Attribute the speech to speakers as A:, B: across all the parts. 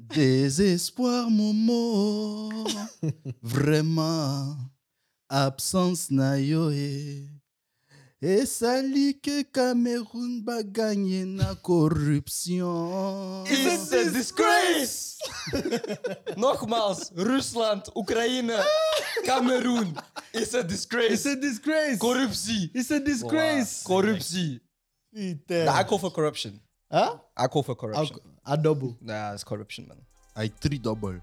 A: Désespoir, mon mot. Vraiment. Absence e. nayoe. ezali ke cameroun baganye na corruption
B: Is it a disgrace? Nogmaals, Rusland, Oekraïne, Cameroen. Is a
C: It's
B: disgrace.
C: a disgrace.
B: Corruptie.
C: It's a disgrace.
B: Corruptie.
C: Pieter.
B: Nah, I call for corruption.
C: Huh?
B: I call for corruption.
C: Alco- Adobo.
B: Nah, it's corruption, man.
A: I three double.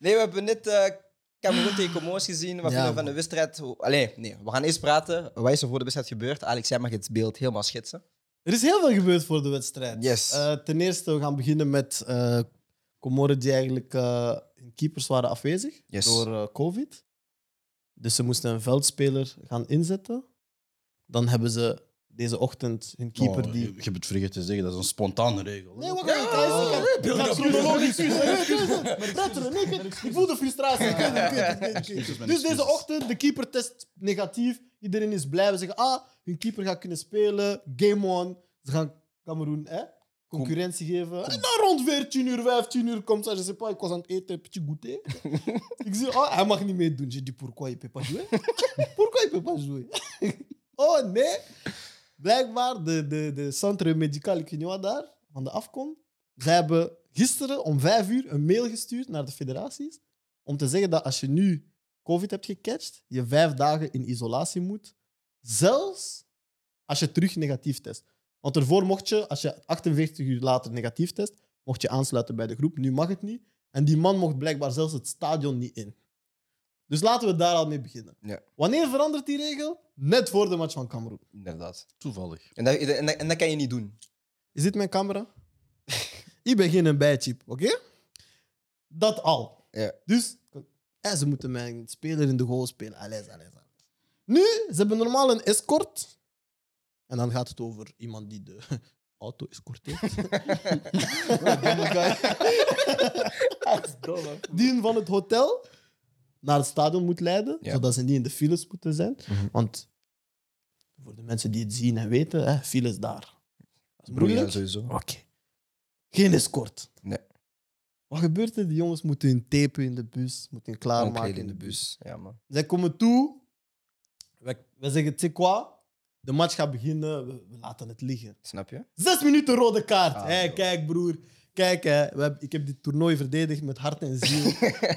B: Nee, we hebben net eh Cameroen tegen Comoros gezien. Wat
C: Ja,
B: vinden we van
C: man.
B: de wedstrijd? Hoe- Allee, nee, we gaan eerst praten. Wat is er voor de wedstrijd gebeurd? Alex, jij mag het beeld helemaal schetsen.
C: Er is heel veel gebeurd voor de wedstrijd.
B: Yes.
C: Eh, ten eerste, we gaan beginnen met eh Comoren die eigenlijk eh, hun keepers waren afwezig
B: Yes.
C: door eh, COVID. Dus ze moesten een veldspeler gaan inzetten. Dan hebben ze deze ochtend hun keeper
A: Oh,
C: die.
A: Ik heb het vergeten te zeggen, dat is een spontane regel.
C: Nee, wacht even. Ik
B: Beeld
C: heb
B: up.
C: chronologisch. Nee, nee, nee, Praat er niet in. Ik voel de frustratie. Ik weet het, ik weet het, ik weet het.
A: Excuses, mijn
C: Dus deze
A: excuses.
C: ochtend, de keeper test negatief. Iedereen is blij. We zeggen, ah, hun keeper gaat kunnen spelen. Game on. Ze gaan Cameroen hè, concurrentie geven. En dan rond 14 uur, 15 uur komt ze. Je sais pas, ik was aan het eten, petit goûter. ik zie, ah, hij mag niet meedoen. Je dis, pourquoi il peut pas jouer? pourquoi il peut pas jouer? oh, nee. Blijkbaar, de, de, de Centre Medical, ik weet niet wat daar, van de afkom. Zij hebben gisteren om 5 uur een mail gestuurd naar de federaties. Om te zeggen dat als je nu COVID hebt gecatcht, je vijf dagen in isolatie moet. Zelfs als je terug negatief test. Want ervoor mocht je, als je 48 uur later negatief test, mocht je aansluiten bij de groep. Nu mag het niet. En die man mocht blijkbaar zelfs het stadion niet in. Dus laten we daar al mee beginnen.
B: Ja.
C: Wanneer verandert die regel? Net voor de match van Cameroen.
B: Inderdaad.
A: Toevallig.
B: En dat, en, dat, en dat kan je niet doen.
C: Is dit mijn camera? ik ben geen bijchip, oké? Dat al.
B: Ja.
C: Dus en ze moeten mijn speler in de goal spelen. Alles, alles, alles. Nu, ze hebben normaal een escort. En dan gaat het over iemand die de auto escorteert. Wat een domme guy. die van het hotel naar het stadion moet leiden,
B: Ja.
C: zodat ze niet in de files moeten zijn.
B: Mhm.
C: Want voor de mensen die het zien en weten, hè, files daar. Dat is
B: Broeier,
C: moeilijk.
B: sowieso.
C: Oké. Geen escort.
B: Nee.
C: Wat gebeurt er? Die jongens moeten hun tapen in de bus, moeten hun klaarmaken
B: Omkleden in de bus. Ja, man.
C: Zij komen toe. Wij, wij zeggen, tu sais quoi? De match gaat beginnen, we, we laten het liggen.
B: Snap je?
C: Zes minuten rode kaart.
B: Ah,
C: Hé,
B: joh.
C: kijk, broer. Kijk, hè. We hebben- ik heb dit toernooi verdedigd met hart en ziel.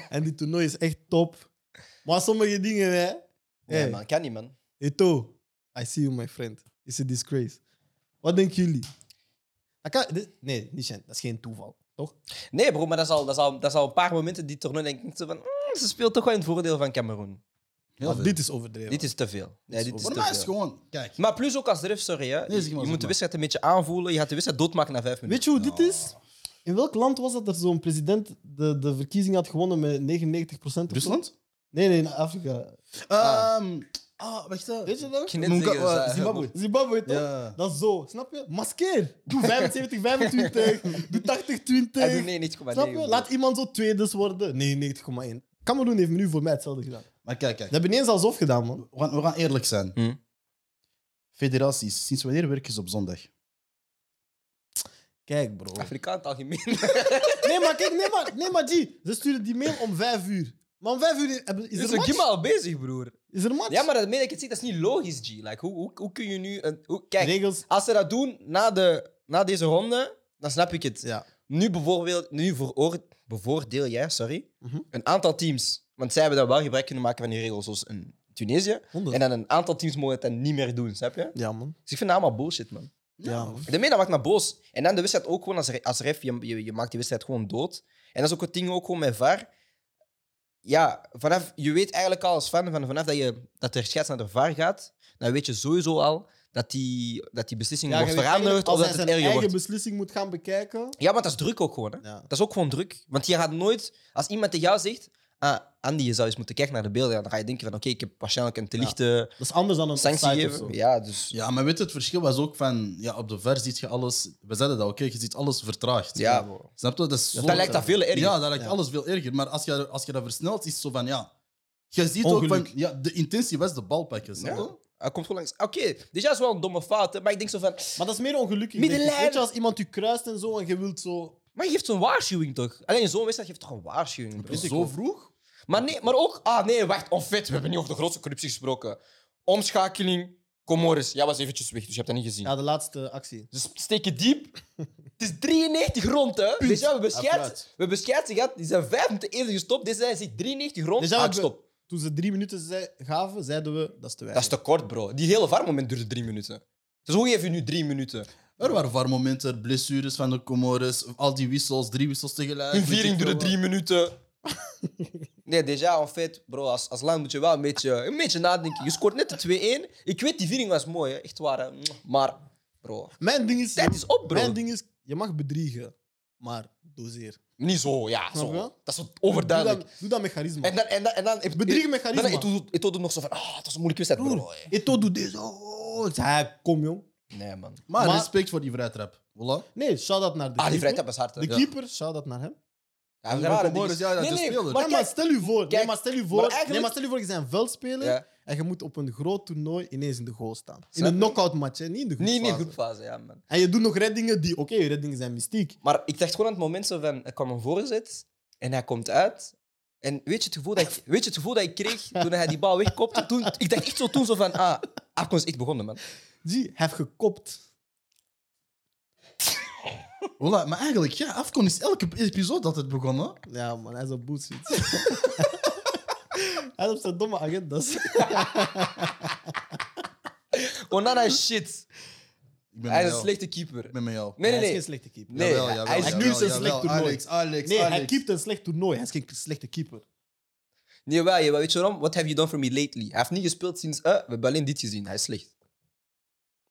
C: en dit toernooi is echt top. Maar sommige dingen, hè.
B: Nee,
C: Hey.
B: man. Kan niet, man.
C: Eto, I see you, my friend. It's a disgrace. Wat denken jullie? Dat kan- dit- nee, niet Shen, dat is geen toeval, toch?
B: Nee, bro, maar dat is al, dat is al, dat is al een paar momenten die toernooi denk ik zo van... mm, ze speelt toch wel in het voordeel van Cameroen.
C: Want dit is overdreven.
B: Dit is te veel. Nee, dit is
A: Voor mij is
B: te
A: het
B: veel.
A: gewoon, kijk.
B: Maar plus ook als ref, sorry. Hè.
A: zeg maar,
B: je
A: zeg
B: moet de
A: maar.
B: wedstrijd een beetje aanvoelen. Je gaat de wedstrijd doodmaken na vijf minuten.
C: Weet je hoe dit is? Nou. In welk land was dat dat zo'n president de, de verkiezing had gewonnen met 99 procent?
A: Rusland?
C: Nee, nee, in Afrika.
A: Ah, ah wacht even.
C: Weet je dat?
B: Ik net zeggen,
A: Munga-
B: dat-
A: eh, Zimbabwe.
C: Zimbabwe, toch?
A: Ja.
C: Dat is zo, snap je? Maskeer. Doe 75, 25. Doe 80, 20.
B: Hij doet nee, niet
C: snap je? Laat iemand zo tweedes worden. Nee, 90,1. Cameroen heeft nu voor mij hetzelfde gedaan.
A: Maar kijk, kijk.
C: Ze hebben ineens alsof gedaan, man.
A: We gaan, we gaan eerlijk zijn.
B: Hm.
A: Federaties, sinds wanneer werken ze op zondag?
C: Kijk, bro.
B: Afrikaan in het algemeen.
C: Nee, maar kijk, nee, maar, nee, maar die. Ze sturen die mail om 5 uur. Maar om 5 uur hebben-
B: Is
C: is er een
B: er
C: match.
B: Gimma al bezig, broer?
C: Is er een match?
B: Ja, maar dat meen ik het zeg, dat is niet logisch, G. Like, hoe, hoe, hoe kun je nu... Een, hoe, kijk,
C: Regels.
B: als ze dat doen na, de, na deze ronde, dan snap ik het.
C: Ja.
B: Nu bijvoorbeeld, nu veroor- bevoordeel jij, sorry,
C: Mhm.
B: een aantal teams. Want zij hebben daar wel gebruik kunnen maken van die regels, zoals in Tunesië. En dan een aantal teams mogen het dan niet meer doen, snap je?
C: Ja, man.
B: Dus ik vind dat allemaal bullshit, man.
C: Ja, man.
B: De media maakt me boos. En dan de wedstrijd ook gewoon als, re- als ref. Je, je, je maakt die wedstrijd gewoon dood. En dat is ook het ding ook gewoon met VAR. Ja, vanaf, je weet eigenlijk al als fan, van, vanaf dat, je, dat er scheids naar de VAR gaat, dan weet je sowieso al dat die, dat die beslissing
C: Ja, je
B: wordt
C: weet
B: veranderd
C: eigenlijk,
B: of dat het
C: als hij zijn
B: erger
C: eigen
B: wordt.
C: beslissing moet gaan bekijken.
B: Ja, maar dat is druk ook gewoon. Hè.
C: Ja.
B: Dat is ook gewoon druk. Want je gaat nooit, als iemand tegen jou zegt, ah, Andy, je zou eens moeten kijken naar de beelden, dan ga je denken van, oké, ik heb waarschijnlijk een te
C: Ja.
B: lichte
C: Dat is anders dan een
B: sanctie
C: offside of zo.
B: gegeven. Ja, dus...
A: Ja, maar weet je, het verschil was ook van... Ja, op de ver ziet je alles... We zeiden dat, oké? Je ziet alles vertraagd.
B: Ja,
A: Snap je? Dat, is zo-
B: dat lijkt dat veel erger.
A: Ja, dat lijkt
C: Ja.
A: alles veel erger. Maar als je, als je dat versnelt, is het zo van... Ja, je ziet ook
C: Ongeluk.
A: van... Ja, de intentie was de bal pakken. snap
B: Ja.
A: je?
B: Hij komt gewoon langs. Ah, Oké, dit is wel een domme fout, hè, maar ik denk zo van.
C: Maar dat is meer ongelukkig.
B: Middenlijn.
C: denk ik. Weet je, als iemand u kruist en zo en je wilt zo.
B: Maar je geeft zo'n waarschuwing toch? Alleen zo'n wedstrijd geeft toch een waarschuwing, bro?
A: Zo vroeg?
B: Maar, nee, maar ook, ah nee, wacht, onfit. We hebben niet over de grootste corruptie gesproken. Omschakeling, Comoris. Jij was eventjes weg, dus je hebt dat niet gezien.
C: Ja, de laatste actie.
B: Ze steken diep. Het is 93 rond, hè? Dus ja, we hebben scheids-
A: Applaus.
B: we hebben scheids gehad. Die zijn vijf minuten eerder gestopt. Deze zijn zit 93 rond.
C: Dus ja,
B: Ah,
C: we
B: ik
C: hebben-
B: stop.
C: Toen ze drie minuten zei, gaven, zeiden we dat is te
B: Dat
C: weinig.
B: is te kort, bro. Die hele varmoment duurde drie minuten. Dus hoe geef je nu drie minuten?
A: Er waren varmomenten, blessures van de Comores, al die wissels, drie wissels tegelijk.
B: Hun
A: weet
B: viering
A: ik
B: duurde
A: veel
B: drie minuten. Nee, déjà, en fait, bro, als, als land moet je wel een beetje, een beetje nadenken. Je scoort net de 2-1. Ik weet, die viering was mooi, hè. echt waar. hè. Maar, bro,
C: Mijn ding is,
B: tijd is op, bro.
C: mijn ding is, je mag bedriegen, maar doseer.
B: Niet zo, ja,
C: Snap
B: zo.
C: je?
B: Dat is wat overduidelijk.
C: Doe dat, doe dat mechanisme.
B: En dan, en dan, en dan, en
C: Bedriegmechanisme.
B: Dan, Eto'o doet- Eto'o doet nog zo van, ah, het was een moeilijke wedstrijd, bro.
C: Broer, Eto'o doet dit. Oh, ik zei, "Hij, kom jong.
B: Nee, man.
A: Maar,
C: Maar-
A: respect voor die vrijtrap. Voilà.
C: Nee, shout-out naar de
B: Ah, die
C: keeper.
B: vrijtrap is hard, hè.
C: De
B: Ja.
C: keeper, shout-out naar hem.
B: Ja, dat is
A: Ja,
B: raar, hè,
A: Comoros,
B: die-
A: ja, dat is
B: nee,
A: een
B: nee,
A: speler.
B: Maar
C: Maar, maar
B: kijk,
C: stel u voor, nee,
B: kijk,
C: maar stel u voor,
B: maar eigenlijk-
C: nee, maar stel u voor, je bent een veldspeler
B: Ja.
C: en je moet op een groot toernooi ineens in de goal staan. In
B: Snap
C: een
B: je?
C: knock-out match, hè, niet in de groepsfase.
B: niet in de groepfase, ja, man.
C: En je doet nog reddingen die, oké, reddingen zijn mystiek.
B: Maar ik dacht gewoon aan het moment zo van, ik kwam een voorzet en hij komt uit. En weet je het gevoel dat ik, weet je het gevoel dat ik kreeg toen hij die bal wegkopte? Toen, ik dacht echt zo toen zo van, ah, Afcon is echt begonnen, man.
C: Zie, hij heeft gekopt.
A: Voilà. Maar eigenlijk, ja, Afcon is elke episode altijd begonnen.
C: Ja, man, hij is op bullshit. hij is op zijn domme agendas.
B: Onana is shit.
A: Ik ben
B: Hij
A: met
B: is een
A: jou.
B: slechte keeper.
A: Ik ben met jou.
B: Nee, nee,
C: Hij is
B: nee.
C: geen slechte keeper.
B: Nee,
A: Jawel,
B: hij-
A: jawel,
B: hij is
A: jawel,
C: nu zijn
A: jawel,
C: slecht toernooi.
A: Alex, Alex,
C: Nee,
A: Alex.
C: hij keept een slecht toernooi. Hij is geen slechte keeper.
B: Nee, wel, jawel, weet je waarom? What have you done for me lately? Hij heeft niet gespeeld sinds, eh, we hebben alleen dit gezien. Hij is slecht.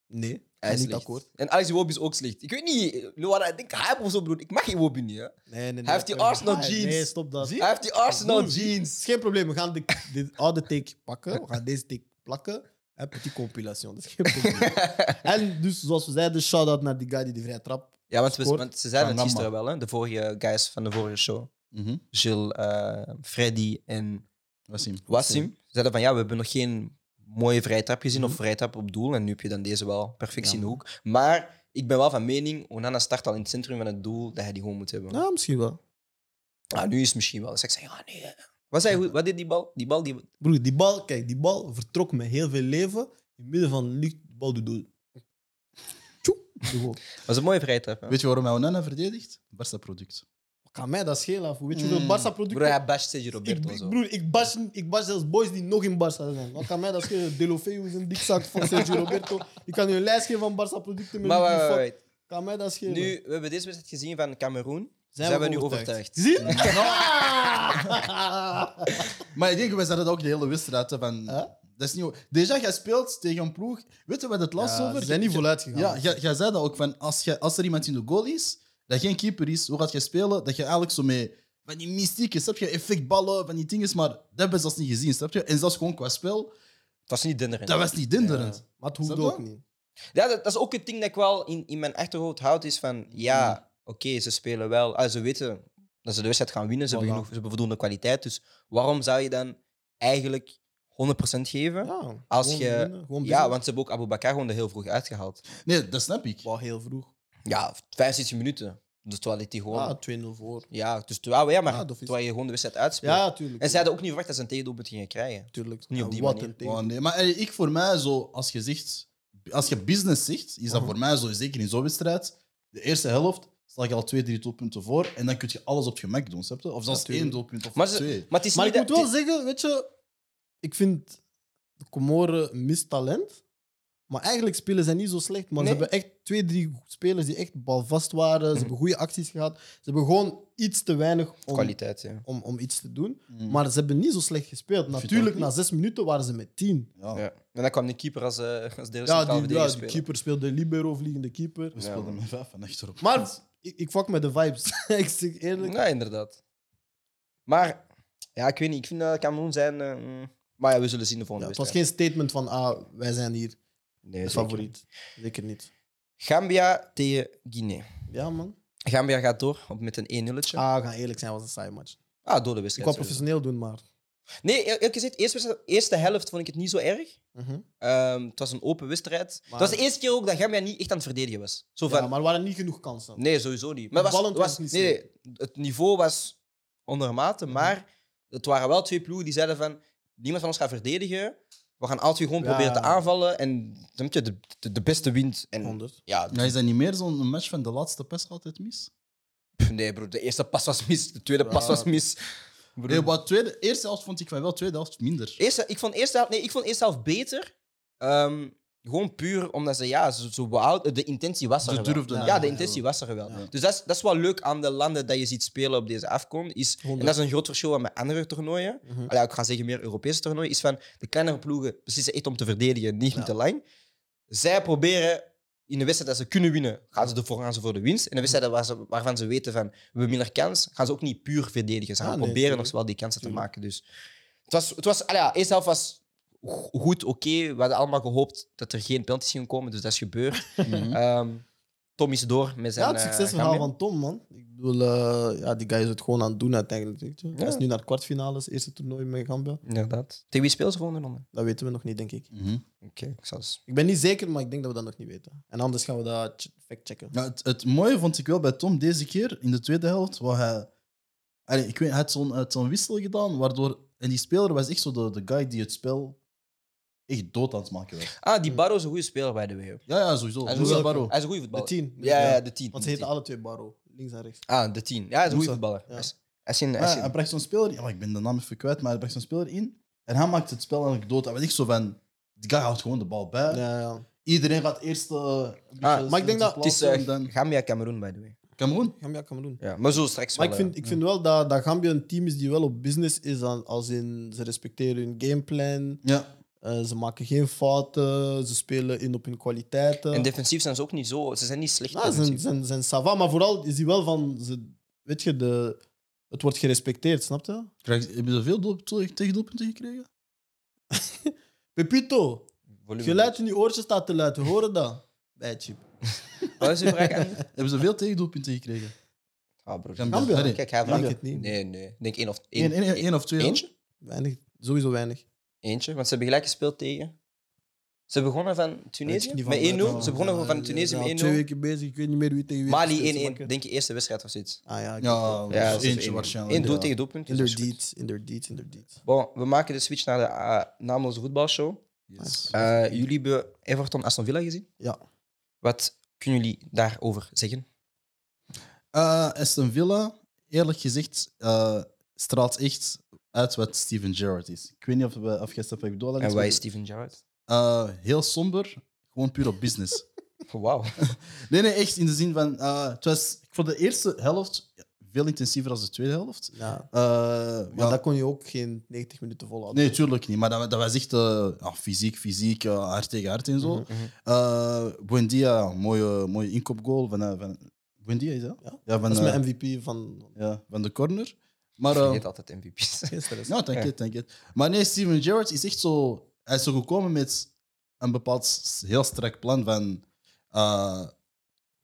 C: Nee,
B: Hij is
C: niet
B: slecht.
C: akkoord.
B: En Alex Iwobi is ook slecht. Ik weet niet, eh, Luana, ik denk hype of zo, broer. Ik mag Iwobi niet, hè.
C: Nee, nee, nee.
B: heeft die
C: nee.
B: Arsenal
C: Ah,
B: jeans.
C: Nee, stop dat.
B: Hij heeft die Arsenal
C: Broer, Het
B: jeans.
C: is geen probleem. We gaan de, de oude take pakken. We gaan deze take plakken. En petit compilation. Dat is geen probleem. en dus, zoals we zeiden, shout-out naar die guy die de vrije trap.
B: Ja, want, we-
C: Scoort.
B: want ze zeiden het
A: Panama.
B: gisteren wel, hè. De vorige guys van de vorige show.
A: Mhm.
B: Gilles, eh, Freddy en
A: Wassim.
B: Wassim zeiden van ja, we hebben nog geen mooie vrijtrap gezien of vrijtrap op doel. En nu heb je dan deze wel perfectie in de hoek. Maar ik ben wel van mening, Onana start al in het centrum van het doel, dat hij die gewoon moet hebben.
C: Nou, misschien wel.
B: Ah, nu is het misschien wel. Dus ik zeg, ja, nee. hè. Wat, zei, wat deed die bal? Die bal die...
C: Broer, die bal, kijk, die bal vertrok met heel veel leven. In het midden van de lucht, de bal doet doel. Tjoe, doe gewoon.
B: was een mooie vrijtrap. Hè?
A: Weet je waarom hij Onana verdedigt? Barça-product.
C: Wat Kan mij dat schelen? af? Weet je hoeveel
A: Mm.
B: Hmm. Broer,
C: Barça-producten...
B: hij basht Sergio
C: Ik,
B: Roberto en
C: ik-
B: zo.
C: broer, ik bash, ik bash zelfs boys die nog in Barça zijn. Wat kan mij dat schelen? Delofeu is een dikzak van Sergio Roberto. Ik kan je een lijst geven van Barça-producten.
B: Maar
C: wie
B: wacht,
C: fuck-
B: wacht, wacht.
C: Kan mij dat schelen?
B: Nu, we hebben deze wedstrijd gezien van Cameroen. Zijn we nu overtuigd?
C: Zie Ah! je?
A: Maar ik denk, wij zeiden dat ook de hele wedstrijd. hè, Van,
C: Huh?
A: Dat is niet... Deja, jij speelt tegen een ploeg. Weet je wat het last over?
C: Ze zijn
A: Je-
C: niet voluit gegaan.
A: Ja, jij- jij zei dat ook. Van, als, jij- als er iemand in de goal is, dat geen keeper is, hoe gaat je spelen? Dat je eigenlijk zo mee... Van die mystieke, snap je? Effectballen, van die dingen. Maar dat hebben ze zelfs niet gezien, snap je? En zelfs gewoon qua spel,
B: Het was niet dinner.
A: dat was niet
C: Ja.
A: dinderend.
C: Maar het
A: Snap
C: hoeft
A: je?
C: ook niet.
B: Ja, dat, dat is ook het ding dat ik wel in, in mijn achterhoofd houd. Is van ja,
C: Mm.
B: oké, ze spelen wel. Ah, ze weten dat ze de wedstrijd gaan winnen. Ze, hebben,
C: Voilà.
B: genoeg, ze hebben voldoende kwaliteit. Dus waarom zou je dan eigenlijk 100% geven? Ja,
C: Ja,
B: Als
C: gewoon
B: je-
C: beginnen, gewoon beginnen.
B: want ze hebben ook Abu Bakar gewoon er heel vroeg uitgehaald.
A: Nee, dat snap ik.
C: Wel heel vroeg.
B: Ja, 65 minuten. Dus terwijl hij die gewoon.
C: Ah, 2-0 voor.
B: Ja, dus terwijl, ja, maar
C: Ah, dat is-
B: terwijl je gewoon de wedstrijd uitspeelt.
C: Ja, tuurlijk.
B: En ze hadden ook niet verwacht dat ze een tegendoelpunt gingen krijgen.
C: natuurlijk.
B: niet op die
C: Wat
B: manier.
C: een
A: Oh,
C: tegen.
A: nee. Maar eh, ik voor mij zo, als je zegt, als je business zegt, is dat
C: Mhm.
A: voor mij zo, zeker in zo'n wedstrijd, de eerste helft sta je al twee, drie doelpunten voor en dan kun je alles op het gemak doen, snap je? Of zelfs
C: Natuurlijk.
A: één doelpunt of
B: Maar, ze-
A: twee.
B: maar het is
C: Maar
B: niet
C: ik moet
B: dat-
C: wel zeggen, weet je, ik vind de Comoren mist talent. Maar eigenlijk spelen zij niet zo slecht. Maar
B: Nee.
C: ze hebben echt twee, drie spelers die echt balvast waren. Ze
B: Mhm.
C: hebben goede acties gehad. Ze hebben gewoon iets te weinig om,
B: kwaliteit. Mhm. Ja.
C: om, om iets te doen.
A: Mm.
C: Maar ze hebben niet zo slecht gespeeld.
A: vind het
C: Natuurlijk,
A: ook
C: na zes minuten waren ze met tien.
A: ja.
B: Ja. En dan kwam de keeper als, eh als derde
C: Ja,
B: centrale
C: die, ja,
B: verdediger
C: die
B: spelen.
C: keeper speelde libero, vliegende keeper.
A: We
B: Ja,
A: speelden
B: man.
A: met vijf van achterop.
C: Maar ik, ik fuck met de vibes. ik zeg eerlijk.
B: Ja, inderdaad. Maar, ja, ik weet niet. Ik vind dat Cameroen zijn... eh, mm. maar ja, we zullen zien de
C: Ja,
B: volgende
C: het
B: wedstrijd.
C: was geen statement van, ah, wij zijn hier.
B: Nee, zeker.
C: Favoriet. Zeker niet.
B: Gambia tegen Guinea.
C: Ja, man.
B: Gambia gaat door op, met een 1-0'tje. Ah,
C: Ah, we gaan eerlijk zijn, was een saaie match.
B: door de
C: Ik
B: wedstrijd.
C: wou
B: sorry.
C: professioneel doen, maar
B: Nee, eerlijk gezegd, eerst was het- eerste helft vond ik het niet zo erg. Ehm, het was een open wedstrijd.
C: Maar-
B: Dat was de eerste keer ook dat Gambia niet echt aan het verdedigen was. Zo van,
C: Ja, maar er waren niet genoeg kansen.
B: Nee, sowieso niet. Maar het was,
C: Opvallend
B: was,
C: was het
B: nee,
C: niet Mhm.
B: nee, het niveau was ondermate, maar het waren wel twee ploegen die zeiden van niemand van ons gaat verdedigen. We gaan altijd gewoon
C: Ja,
B: proberen te
C: ja, ja.
B: aanvallen en dan heb je de, de, de beste wint. En
C: 100.
B: ja,
A: Ja, is dat niet meer zo'n match van de laatste pas altijd mis?
B: pff, nee bro, de eerste pas was mis, de tweede pas
C: Ja.
B: was mis. Broer.
A: Nee, maar tweede, eerste helft vond ik van wel, tweede helft minder.
B: Eerste, ik vond eerste helft, nee, ik vond eerste helft beter. Ehm, gewoon puur omdat ze, ja, ze, ze behouden- de intentie was er
A: Ze
B: wel.
A: durfden
B: ja,
A: het
B: de
A: wel.
B: intentie was er wel.
A: Ja.
B: Dus dat is, dat is wel leuk aan de landen dat je ziet spelen op deze afkomst. Is, en dat is een groot verschil met andere toernooien.
C: Mhm.
B: Allee, ik ga zeggen meer Europese toernooien. Is van de kleinere ploegen beslissen echt om te verdedigen, niet om te lang. Zij proberen in de wedstrijd dat ze kunnen winnen, gaan ze ervoor gaan ze voor de winst. En de
C: Mhm.
B: wedstrijden waar ze- waarvan ze weten van we hebben minder kans, gaan ze ook niet puur verdedigen. Ze gaan
C: Ah, nee,
B: proberen nog
C: tuurlijk.
B: wel die kansen te
C: Tuurlijk.
B: maken. Dus het was, het was, allee, ja, eerst helft was go- goed, oké. We hadden allemaal gehoopt dat er geen penalties gingen komen, dus dat is gebeurd.
A: Mhm.
B: Ehm, Tom is door met zijn.
C: Ja, het
B: eh,
C: succesverhaal
B: Gambia.
C: van Tom, man. Ik bedoel, eh, ja, die guy is het gewoon aan het doen uiteindelijk. weet je. Hij is nu naar de kwartfinales, eerste toernooi met Gambia.
B: Inderdaad. Tegen wie speelt ze volgende ronde?
C: Dat weten we nog niet, denk ik.
A: Mhm.
B: Oké, ik zal eens-
C: Ik ben niet zeker, maar ik denk dat we dat nog niet weten. En anders gaan we dat ch- factchecken.
A: Ja, het, het mooie vond ik wel bij Tom deze keer in de tweede helft. Waar hij, allee, ik weet, hij had zo'n hij had zo'n wissel gedaan. Waardoor, en die speler was echt zo de, de guy die het spel echt dood aan het maken was.
B: Ah, die Barro is een goede speler, by the way.
A: Ja, ja sowieso.
B: Hij is, een
A: Moussa
B: goede-
A: Barrow.
B: hij is een goede
C: Eh. Oh. De
B: voetballer.
C: tien.
B: Ja, ja, de tien.
C: Want
B: de
C: ze heten
B: tien.
C: alle twee Barro, links en rechts.
B: Ah, de tien. Ja, hij is een goede
C: Moussa,
B: voetballer.
C: ja.
B: Hij is- Hij is in... hij
A: Maar
B: is
A: ja, hij
B: in-
A: bracht zo'n speler ja, maar ik ben de naam even kwijt, maar hij bracht zo'n speler in. En hij maakt het spel eigenlijk dood. En wat ik zo van, die guy houdt gewoon de bal bij.
C: Ja, ja.
A: Iedereen gaat eerst eh, een beetje
B: Ah, maar ik
A: snel
C: denk dat-
B: Het is
A: plaatsen en
B: eh,
A: dan
B: Gambia Cameroen, by the way.
A: Cameroen.
C: Gambia, Cameroen.
B: Ja, maar zo straks
C: Maar ik
B: wel,
C: vind, ik vind wel dat, dat Gambia een team is die wel op business is. dan- als in, ze respecteren hun gameplan,
A: Ja.
C: eh, ze maken geen fouten, ze spelen in op hun kwaliteiten.
B: eh. En defensief zijn ze ook niet zo... Ze zijn niet slecht
C: Ja, zijn,
B: defensief.
C: zijn, zijn sava, maar vooral is hij wel van, ze, weet je, de, het wordt gerespecteerd, snap je?
A: Krijg, heb je zoveel doelp- toe- tegendoelpunten gekregen?
C: Pepito,
B: Volume.
C: geluid in je oortjes staat te luid, we horen dat. Bijchip.
B: Wat is je vraag aan?
A: Hebben ze veel tegendoelpunten gekregen?
B: Ah, broer.
A: Gambia.
C: Gambia.
A: Allee,
B: Kijk, hij
C: Denk
B: vraagt...
C: het niet.
B: Nee, nee. Ik denk één of...
A: één- één-
B: één-
A: één of twee. hè?
B: Eentje?
C: Weinig, sowieso weinig.
B: Eentje, want ze hebben gelijk gespeeld tegen... Ze begonnen van
C: Weet
B: Tunesië
C: ik niet
B: met 1-0.
C: van welke-
B: Ze begonnen van
C: Ja,
B: Tunesië
C: ja,
B: met 1-0.
C: Twee weken bezig, ik weet niet meer wie tegen wie.
B: Mali
C: gespeeld ze
B: 1-1.
C: maken.
B: Denk je eerste wedstrijd of zoiets.
C: Ah ja, ik
A: Ja,
C: weet het.
B: Ja,
A: Dus eentje waarschijnlijk,
B: Eén doel
A: ja.
B: tegen doelpunt. dus dat is goed.
C: Inderdaad, inderdaad, inderdaad.
B: Bon, we maken de switch naar de eh, naamloze voetbalshow.
A: Yes.
B: Eh, jullie hebben Everton Aston Villa gezien.
C: Ja.
B: Wat kunnen jullie daarover zeggen?
A: Eh, Aston Villa, eerlijk gezegd, eh, straalt echt uit wat Steven Gerrard is. Ik weet niet of, we, of je Stefan bedoel.
B: En waar is Steven Gerrard?
A: heel somber, gewoon puur op business.
B: Oh, Wauw.
A: nee, nee, echt in de zin van... eh, het was voor de eerste helft veel intensiever dan de tweede helft.
C: ja.
A: Eh,
C: Maar
A: ja,
C: dat kon je ook geen 90 minuten volhouden.
A: Nee, tuurlijk niet. Maar dat, dat was echt eh, ja, fysiek, fysiek, eh, hard tegen hard en zo.
B: Mhm, mhm.
A: Eh, Buendia, mooie, mooie inkoopgoal van... eh, van Buendia is dat?
C: Ja.
A: van,
C: Dat is
A: eh,
C: mijn MVP van
A: ja, van de corner. Maar... eh,
B: Vergeet altijd MVP's.
C: gisteren.
A: Ja, dank je, dank je. Maar nee, Steven Gerrard is echt zo... Hij is zo gekomen met een bepaald s- heel strak plan van... eh,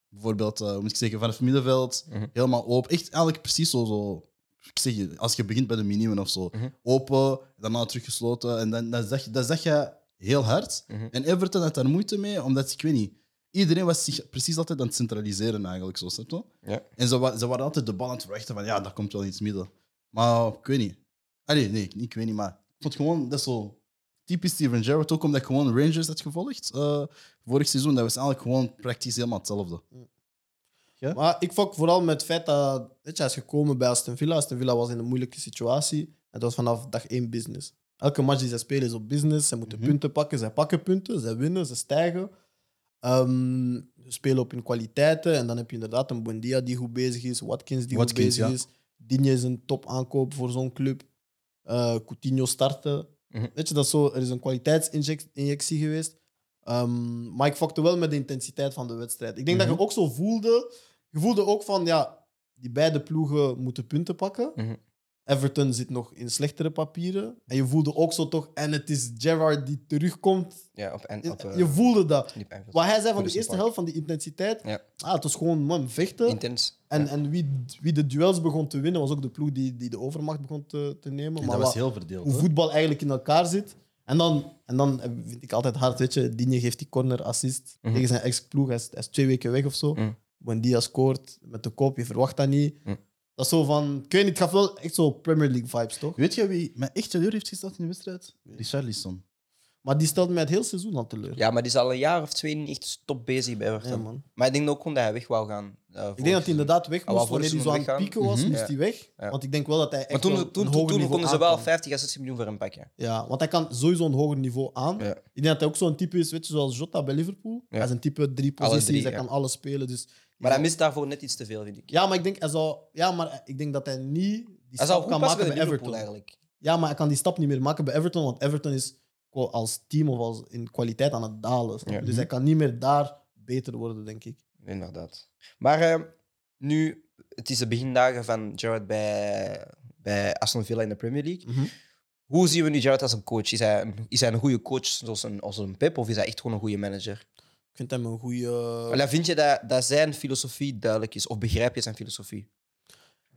A: bijvoorbeeld, eh, hoe moet ik zeggen, van het middenveld,
B: Mhm.
A: helemaal open. Echt eigenlijk precies zo... zo ik zeg je, als je begint bij de minimum of zo.
B: Mhm.
A: Open, daarna teruggesloten. En dan, dan, zeg, je- dan zeg je heel hard.
B: Mhm.
A: En Everton had daar moeite mee, omdat ik weet niet... Iedereen was zich precies altijd aan het centraliseren eigenlijk, zo, snap je?
B: Ja.
A: En ze, wa- ze waren altijd de bal aan het verwachten van, ja, dat komt wel in het midden. Maar ik weet niet. Allee, nee, ik, ik weet niet, maar ik vond gewoon, dat is zo typisch Steven Gerrard, ook omdat ik gewoon Rangers had gevolgd eh, vorig seizoen. Dat was eigenlijk gewoon praktisch helemaal hetzelfde.
C: Maar ik fok vooral met het feit dat weet je, hij is gekomen bij Aston Villa. Aston Villa was in een moeilijke situatie. En dat was vanaf dag één business. Elke match die ze spelen is op business. Ze moeten
A: Mhm.
C: punten pakken. Zij pakken punten. Zij winnen. Ze stijgen. Ehm, ze spelen op hun kwaliteiten. En dan heb je inderdaad een Buendia die goed bezig is. Watkins die
A: Watkins,
C: goed bezig
A: ja.
C: is. Digne is een top aankoop voor zo'n club. Eh, Coutinho starten.
B: Mhm.
C: Weet je, dat is zo, er is een kwaliteitsinjectie geweest. Ehm, maar ik fokte wel met de intensiteit van de wedstrijd. Ik denk dat
A: Mhm.
C: je ook zo voelde. Je voelde ook van, ja, die beide ploegen moeten punten pakken.
B: Mhm.
C: Everton zit nog in slechtere papieren. En je voelde ook zo toch, en het is Gerrard die terugkomt.
B: Ja, op, en, op, eh,
C: je voelde dat.
B: op Anfield.
C: Wat hij zei van de
B: Goodison
C: eerste
B: Park.
C: helft, van die intensiteit.
B: Ja.
C: Ah, het was gewoon, man, vechten.
B: Intens.
C: eh, En,
B: Ja.
C: en wie, wie de duels begon te winnen, was ook de ploeg die, die de overmacht begon te, te nemen.
D: En
C: Maar
D: dat was
C: wat-
D: heel verdeeld.
C: hoe
D: hoor.
C: voetbal eigenlijk in elkaar zit. En dan, en dan eh, vind ik altijd hard, weet je, Digne geeft die corner assist
B: Mhm.
C: tegen zijn ex-ploeg. Hij is, hij is twee weken weg of zo.
B: Mhm.
C: Buendia scoort met de kop, je verwacht dat niet.
B: Mhm.
C: Dat is zo van, ik weet niet, het gaf wel echt zo Premier League vibes, toch?
A: Weet je wie mij echt teleur heeft gesteld in de wedstrijd? Richarlison.
C: Maar die stelde mij het heel seizoen al teleur.
B: ja, maar die is al een jaar of twee niet echt top bezig bij Everton.
C: Ja, man.
B: Maar ik denk ook gewoon dat hij weg wou gaan. eh,
C: Ik denk dat hij inderdaad weg
B: Ah,
C: moest
B: wel,
C: wanneer hij
B: vorig
C: zo aan
B: seizoen
C: het pieken was,
A: weggaan.
C: moest
B: Mhm.
C: hij weg.
B: Ja.
C: Want ik denk wel dat hij echt
B: Maar
C: wel
B: toen,
C: een
B: toen, toen,
C: hoger
B: toen
C: niveau
B: konden ze wel
C: aankomt.
B: 50 à 60 miljoen voor hem pakken.
C: Ja, want hij kan sowieso een hoger niveau aan.
B: Ja.
C: Ik denk dat hij ook zo'n type is, weet je, zoals Jota bij Liverpool.
B: Ja.
C: Hij is een type drie
B: Alle
C: posities,
B: drie,
C: hij
B: ja.
C: kan alles spelen. Dus
B: Maar hij mist daarvoor net iets te veel, vind ik.
C: Ja, maar ik denk, hij zou, ja, maar ik denk dat hij niet die
B: Hij zou
C: stap
B: goed
C: kan
B: passen
C: maken
B: bij
C: bij
B: Liverpool
C: Everton.
B: eigenlijk.
C: Ja, maar hij kan die stap niet meer maken bij Everton, want Everton is qua- als team of als in kwaliteit aan het dalen. snap je?
B: Ja.
C: Dus hij kan niet meer daar beter worden, denk ik.
B: Inderdaad. Maar eh, nu, het is de begindagen van Gerrard bij, bij Aston Villa in de Premier League. Hoe zien we nu Gerrard als een coach? Is hij een, is hij een goede coach zoals een, als een Pep of is hij echt gewoon een goede manager?
C: Ik vind hem een goede.
B: Allee, vind je dat, dat zijn filosofie duidelijk is? Of begrijp je zijn filosofie?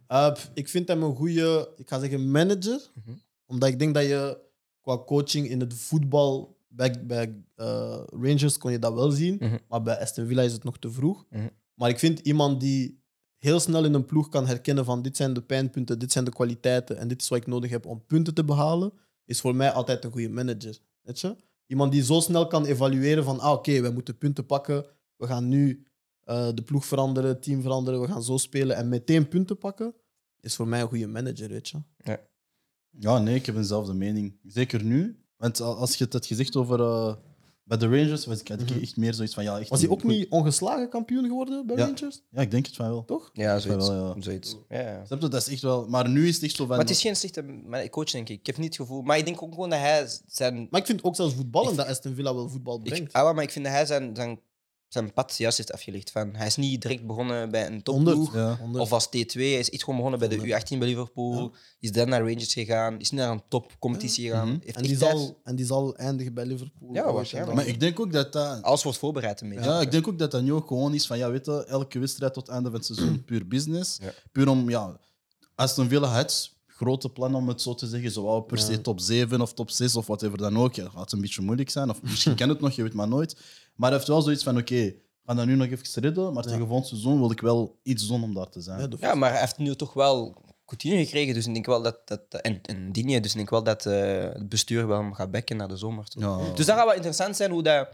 C: Eh, pff, ik vind hem een goede, ik ga zeggen manager,
B: Mhm.
C: omdat ik denk dat je qua coaching in het voetbal bij, bij eh, Rangers kon je dat wel zien,
B: Mhm.
C: maar bij Aston Villa is het nog te vroeg.
B: Mhm.
C: Maar ik vind iemand die heel snel in een ploeg kan herkennen van dit zijn de pijnpunten, dit zijn de kwaliteiten en dit is wat ik nodig heb om punten te behalen, is voor mij altijd een goede manager. Weet je? Iemand die zo snel kan evalueren van ah, oké, wij moeten punten pakken, we gaan nu eh, de ploeg veranderen, het team veranderen, we gaan zo spelen en meteen punten pakken, is voor mij een goede manager, weet je.
A: Ja, nee, ik heb dezelfde mening. Zeker nu. Want al- als je het had gezegd over. eh, bij de Rangers was ik, had ik
C: Mhm.
A: echt meer zoiets van. Ja, echt
C: Was hij
B: Hmm.
A: een
C: ook
A: goed-
C: niet ongeslagen kampioen geworden bij
A: Ja.
C: Rangers?
A: Ja, ik denk het van wel.
C: Toch?
B: Ja,
A: zoiets.
B: zoiets.
A: Wel, ja.
B: zoiets. Ja, ja.
A: Snap je? Dat is echt wel. Maar nu is het echt zo van.
B: Maar het is geen slechte ma- coach, denk ik. Ik heb niet het gevoel. Maar ik denk ook gewoon dat hij zijn.
C: Maar ik vind ook zelfs voetballen
B: Ik-
C: dat Aston Villa wel voetbal
B: Ik,
C: brengt.
B: ah, wel, maar ik vind dat hij zijn, zijn, zijn pad juist heeft afgelegd. Van, hij is niet direct begonnen bij een
C: 100.
B: topploeg.
A: Ja.
C: 100.
B: ah, Of als T2, hij is echt gewoon begonnen bij de U18 bij Liverpool. Is dan naar Rangers gegaan. Is naar een topcompetitie gegaan.
A: Mhm.
B: Heeft
C: en, die
B: echt tijd-
C: zal, en die zal eindigen bij Liverpool.
B: Ja,
C: ooit en
B: waarschijnlijk.
A: Maar
C: dan-
A: ik denk ook dat dat.
B: Alles wordt voorbereid een beetje.
A: Ja, ik denk ook dat dat nu ook gewoon is van, ja, weet je, elke wedstrijd tot het einde van het seizoen puur business.
B: Ja.
A: Puur om, ja, Aston Villa had grote plannen om het zo te zeggen, zo wou per
C: Ja.
A: se top 7 of top 6 of whatever dan ook. Ja, gaat een beetje moeilijk zijn, of misschien kan het nog, je weet maar nooit. Maar hij heeft wel zoiets van, oké, we gaan dat nu nog even redden, maar
C: Ja.
A: tegen volgend seizoen wil ik wel iets doen om daar te zijn.
C: Ja, de-
B: Ja, maar hij heeft nu toch wel continu gekregen. Dus ik denk wel dat. dat en, en Digne, dus ik denk wel dat eh, het bestuur wel hem gaat bekken naar de zomer. toe.
A: Ja.
B: Dus dat gaat wel interessant zijn hoe dat.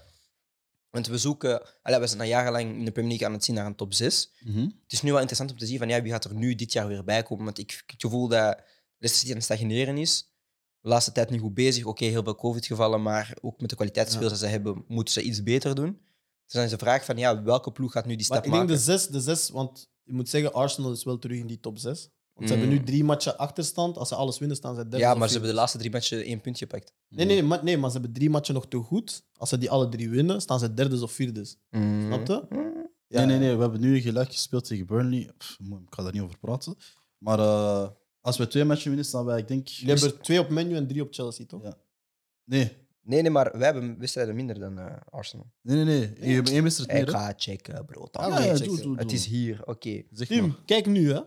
B: Want we zoeken. Allee, we zijn al jarenlang in de Premier League aan het zien naar een top 6.
A: Mhm.
B: Het is nu wel interessant om te zien van ja, wie gaat er nu dit jaar weer bij komen. Want ik heb het gevoel dat Leicester City aan het stagneren is. De laatste tijd niet goed bezig. Oké, heel veel COVID-gevallen, maar ook met de kwaliteitsspelers die ze hebben, moeten ze iets beter doen. Dus dan is de vraag van ja, welke ploeg gaat nu die
C: Maar
B: stap
C: ik
B: maken?
C: denk de zes, de zes, want je moet zeggen, Arsenal is wel terug in die top zes. Want ze
B: Mm.
C: hebben nu drie matchen achterstand. Als ze alles winnen, staan ze derde.
B: ja,
C: of
B: maar ze hebben
C: vierde.
B: de laatste drie matchen één punt gepakt.
C: Nee, nee, maar, nee, maar ze hebben drie matchen nog te goed. Als ze die alle drie winnen, staan ze derde of vierde.
B: Hmm.
C: Snap je?
B: Mm.
C: Ja.
A: Nee, nee, nee, we hebben nu gelijk gespeeld tegen Burnley. Pff, moe, ik ga daar niet over praten. Maar eh, als we twee matchen winnen, staan wij, ik denk...
C: Jullie hebben er twee op menu en drie op Chelsea, toch?
A: Ja. Nee,
B: Nee, nee, maar wij hebben wedstrijden minder dan eh, Arsenal.
A: nee, nee, nee. Je hebt één wedstrijd meer,
B: Ik
A: hè?
B: ga checken, bro.
A: Ja,
B: Ga
A: ja,
B: checken.
A: doe, doe,
B: Het
A: doe.
B: is hier, oké.
A: Zeg maar.
C: Tim, kijk nu, hè.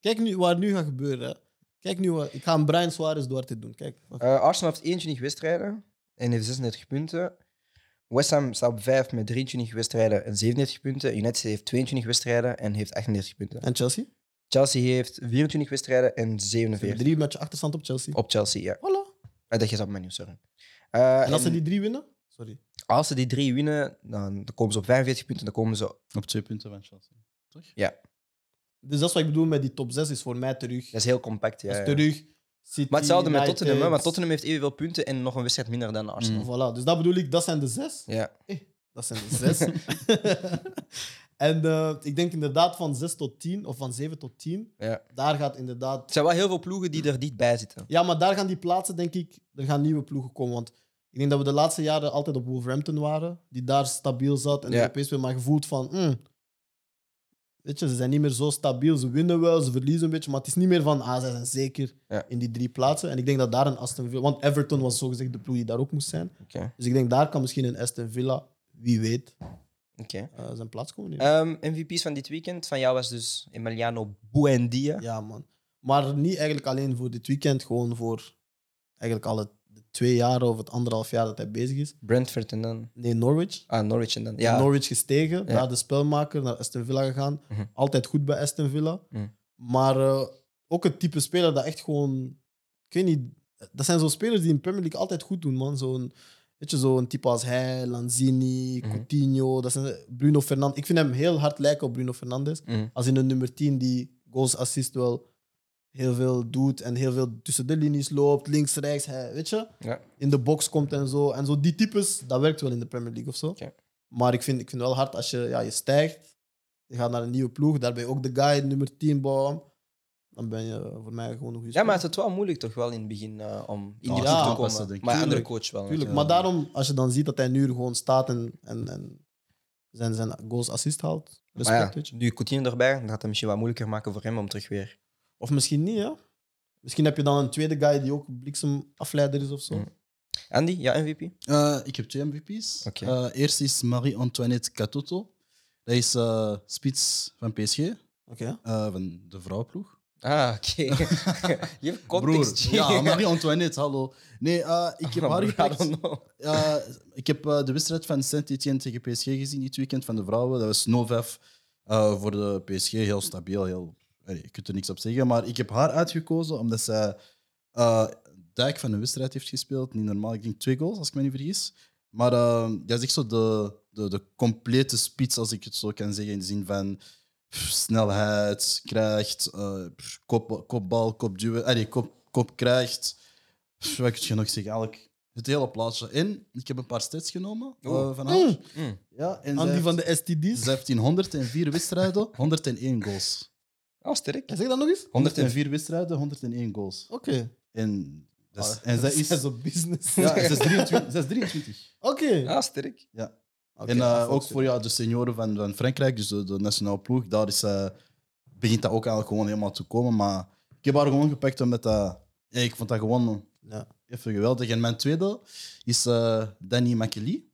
C: Kijk nu waar nu gaat gebeuren. Hè. Kijk nu, wat- ik ga een Brian Suarez Duarte doen. Kijk. Wacht.
B: Eh, Arsenal heeft 21 wedstrijden en heeft 36 punten. West Ham staat op 5 met 23 wedstrijden en 37 punten. United heeft 22 wedstrijden en heeft 38 punten.
C: En Chelsea? Ze
B: Chelsea heeft 24 wedstrijden en
C: hebben
B: 47.
C: drie matchen achterstand op Chelsea.
B: Op Chelsea, ja.
C: Voilà.
B: Eh, dat is op menu, sorry. Eh,
C: En als ze die drie winnen? Sorry.
B: als ze die drie winnen, dan dan komen ze op 45 punten. Dan komen ze...
A: Op twee punten van Chelsea. Toch?
C: Dus dat is wat ik bedoel met die top 6 is voor mij terug.
B: Dat is heel compact, ja.
C: Dat is
B: ja.
C: terug. City,
B: Maar hetzelfde met
C: United.
B: Tottenham, hè, want Tottenham heeft evenveel punten en nog een wedstrijd minder dan Arsenal.
A: Mm.
C: Voilà, dus dat bedoel ik, dat zijn de zes.
B: Ja.
C: Dat zijn de zes. en eh, ik denk inderdaad van zes tot tien, of van zeven tot tien,
B: Ja.
C: daar gaat inderdaad
B: Er zijn wel heel veel ploegen die er niet bij zitten.
C: Ja, maar daar gaan die plaatsen, denk ik, er gaan nieuwe ploegen komen. Want ik denk dat we de laatste jaren altijd op Wolverhampton waren, die daar stabiel zat en
B: Ja.
C: Europees speelde, maar gevoeld van, hmm, Weet je, ze zijn niet meer zo stabiel. Ze winnen wel, ze verliezen een beetje. Maar het is niet meer van, ah, ze zijn zeker
B: Ja.
C: in die drie plaatsen. En ik denk dat daar een Aston Villa... Want Everton was zogezegd de ploeg die daar ook moest zijn.
B: Oké.
C: Dus ik denk, daar kan misschien een Aston Villa, wie weet,
B: Oké.
C: eh, zijn plaats komen nemen.
B: Ehm, MVP's van dit weekend, van jou was dus Emiliano Buendia.
C: Ja, man. Maar niet eigenlijk alleen voor dit weekend. Gewoon voor eigenlijk alle twee jaar of het anderhalf jaar dat hij bezig is.
B: Brentford en dan...
C: Nee, Norwich.
B: Ah, Norwich en dan... Ja,
C: Norwich gestegen,
B: Ja.
C: daar de spelmaker, naar Aston Villa gegaan.
B: Mhm.
C: Altijd goed bij Aston Villa.
B: Mhm.
C: Maar eh, ook het type speler dat echt gewoon... Ik weet niet... Dat zijn zo'n spelers die in Premier League altijd goed doen, man. Zo'n weet je, zo'n type als hij, Lanzini,
B: Mhm.
C: Coutinho. Dat zijn eh, Bruno Fernandes. Ik vind hem heel hard lijken op Bruno Fernandes.
B: Mhm.
C: Als in een nummer 10 die goals assist wel heel veel doet en heel veel tussen de linies loopt, links, rechts, hij, weet je?
B: Ja.
C: In de box komt en zo. En zo die types, dat werkt wel in de Premier League of zo.
B: Oké.
C: Maar ik vind, ik vind wel hard als je, ja, je stijgt, je gaat naar een nieuwe ploeg, daarbij ook de guy, nummer 10, bam. Dan ben je voor mij gewoon een goede
B: ja, maar het
C: speler.
B: was wel moeilijk toch wel in het begin eh, om in
A: Ja,
B: die
C: ja,
B: ploeg
C: dat
B: te komen.
A: was dat, denk ik.
B: maar een andere
C: Tuurlijk,
B: coach wel.
C: Tuurlijk,
B: natuurlijk.
C: maar daarom, als je dan ziet dat hij nu gewoon staat en, en, en zijn, zijn goals assist haalt,
B: Maar
C: respect,
B: ja,
C: weet je.
B: nu Coutinho erbij, dat gaat het misschien wat moeilijker maken voor hem om terug weer...
C: Of misschien niet, ja. Misschien heb je dan een tweede guy die ook bliksemafleider is of zo.
B: Mm. Andy, ja, MVP?
A: Eh, ik heb twee MVP's.
B: Oké.
A: Eh, eerst is Marie-Antoinette Catoto. Dat is eh, spits van PSG, eh,
C: Oké.
A: van de vrouwenploeg.
B: Ah, oké. Je hebt
A: Broer,
B: context, G.
A: ja, Marie-Antoinette, hallo. Nee, eh, ik heb haar
B: Broer, I
A: gepakt.
B: don't know.
A: Eh, ik heb eh, de wedstrijd van Saint-Etienne tegen PSG gezien dit weekend van de vrouwen. Dat was 0-5 eh, voor de PSG. Heel stabiel. Heel, allee, je kunt er niks op zeggen. Maar ik heb haar uitgekozen omdat zij eh dijk van de wedstrijd heeft gespeeld. Niet normaal. Ik denk twee goals, als ik me niet vergis. Maar eh, dat is echt zo de, de, de complete spits, als ik het zo kan zeggen. In de zin van pff, snelheid, krijgt, eh, pff, kop, kopbal, kopduwen. Allee, kop, kop krijgt. Pff, wat kun je nog zeggen? Eigenlijk het hele plaatje. En ik heb een paar stats genomen eh,
B: Oeh.
A: van haar.
B: Mm.
A: Ja, en zij
C: Andy
A: heeft-
C: van de STD's.
A: ze heeft in 104 wedstrijden 101 goals.
B: Oh, sterk.
C: Zeg dat nog eens?
A: 104 wedstrijden, 101 goals.
C: Oké.
A: En, dat is,
C: Ah,
A: en zij
C: dat
A: is,
C: is zo business.
A: ja, ze is 23. ze is 23.
C: Oké.
B: Ah, sterk.
C: Oké,
A: en eh,
C: ja,
A: ook
C: volgens
A: voor ja, de senioren van, van Frankrijk, dus de, de nationale ploeg, daar is, eh, begint dat ook eigenlijk gewoon helemaal te komen. Maar ik heb haar gewoon gepakt omdat dat, ja, ik vond dat gewoon
C: Ja.
A: even geweldig. En mijn tweede is eh, Danny Makeli.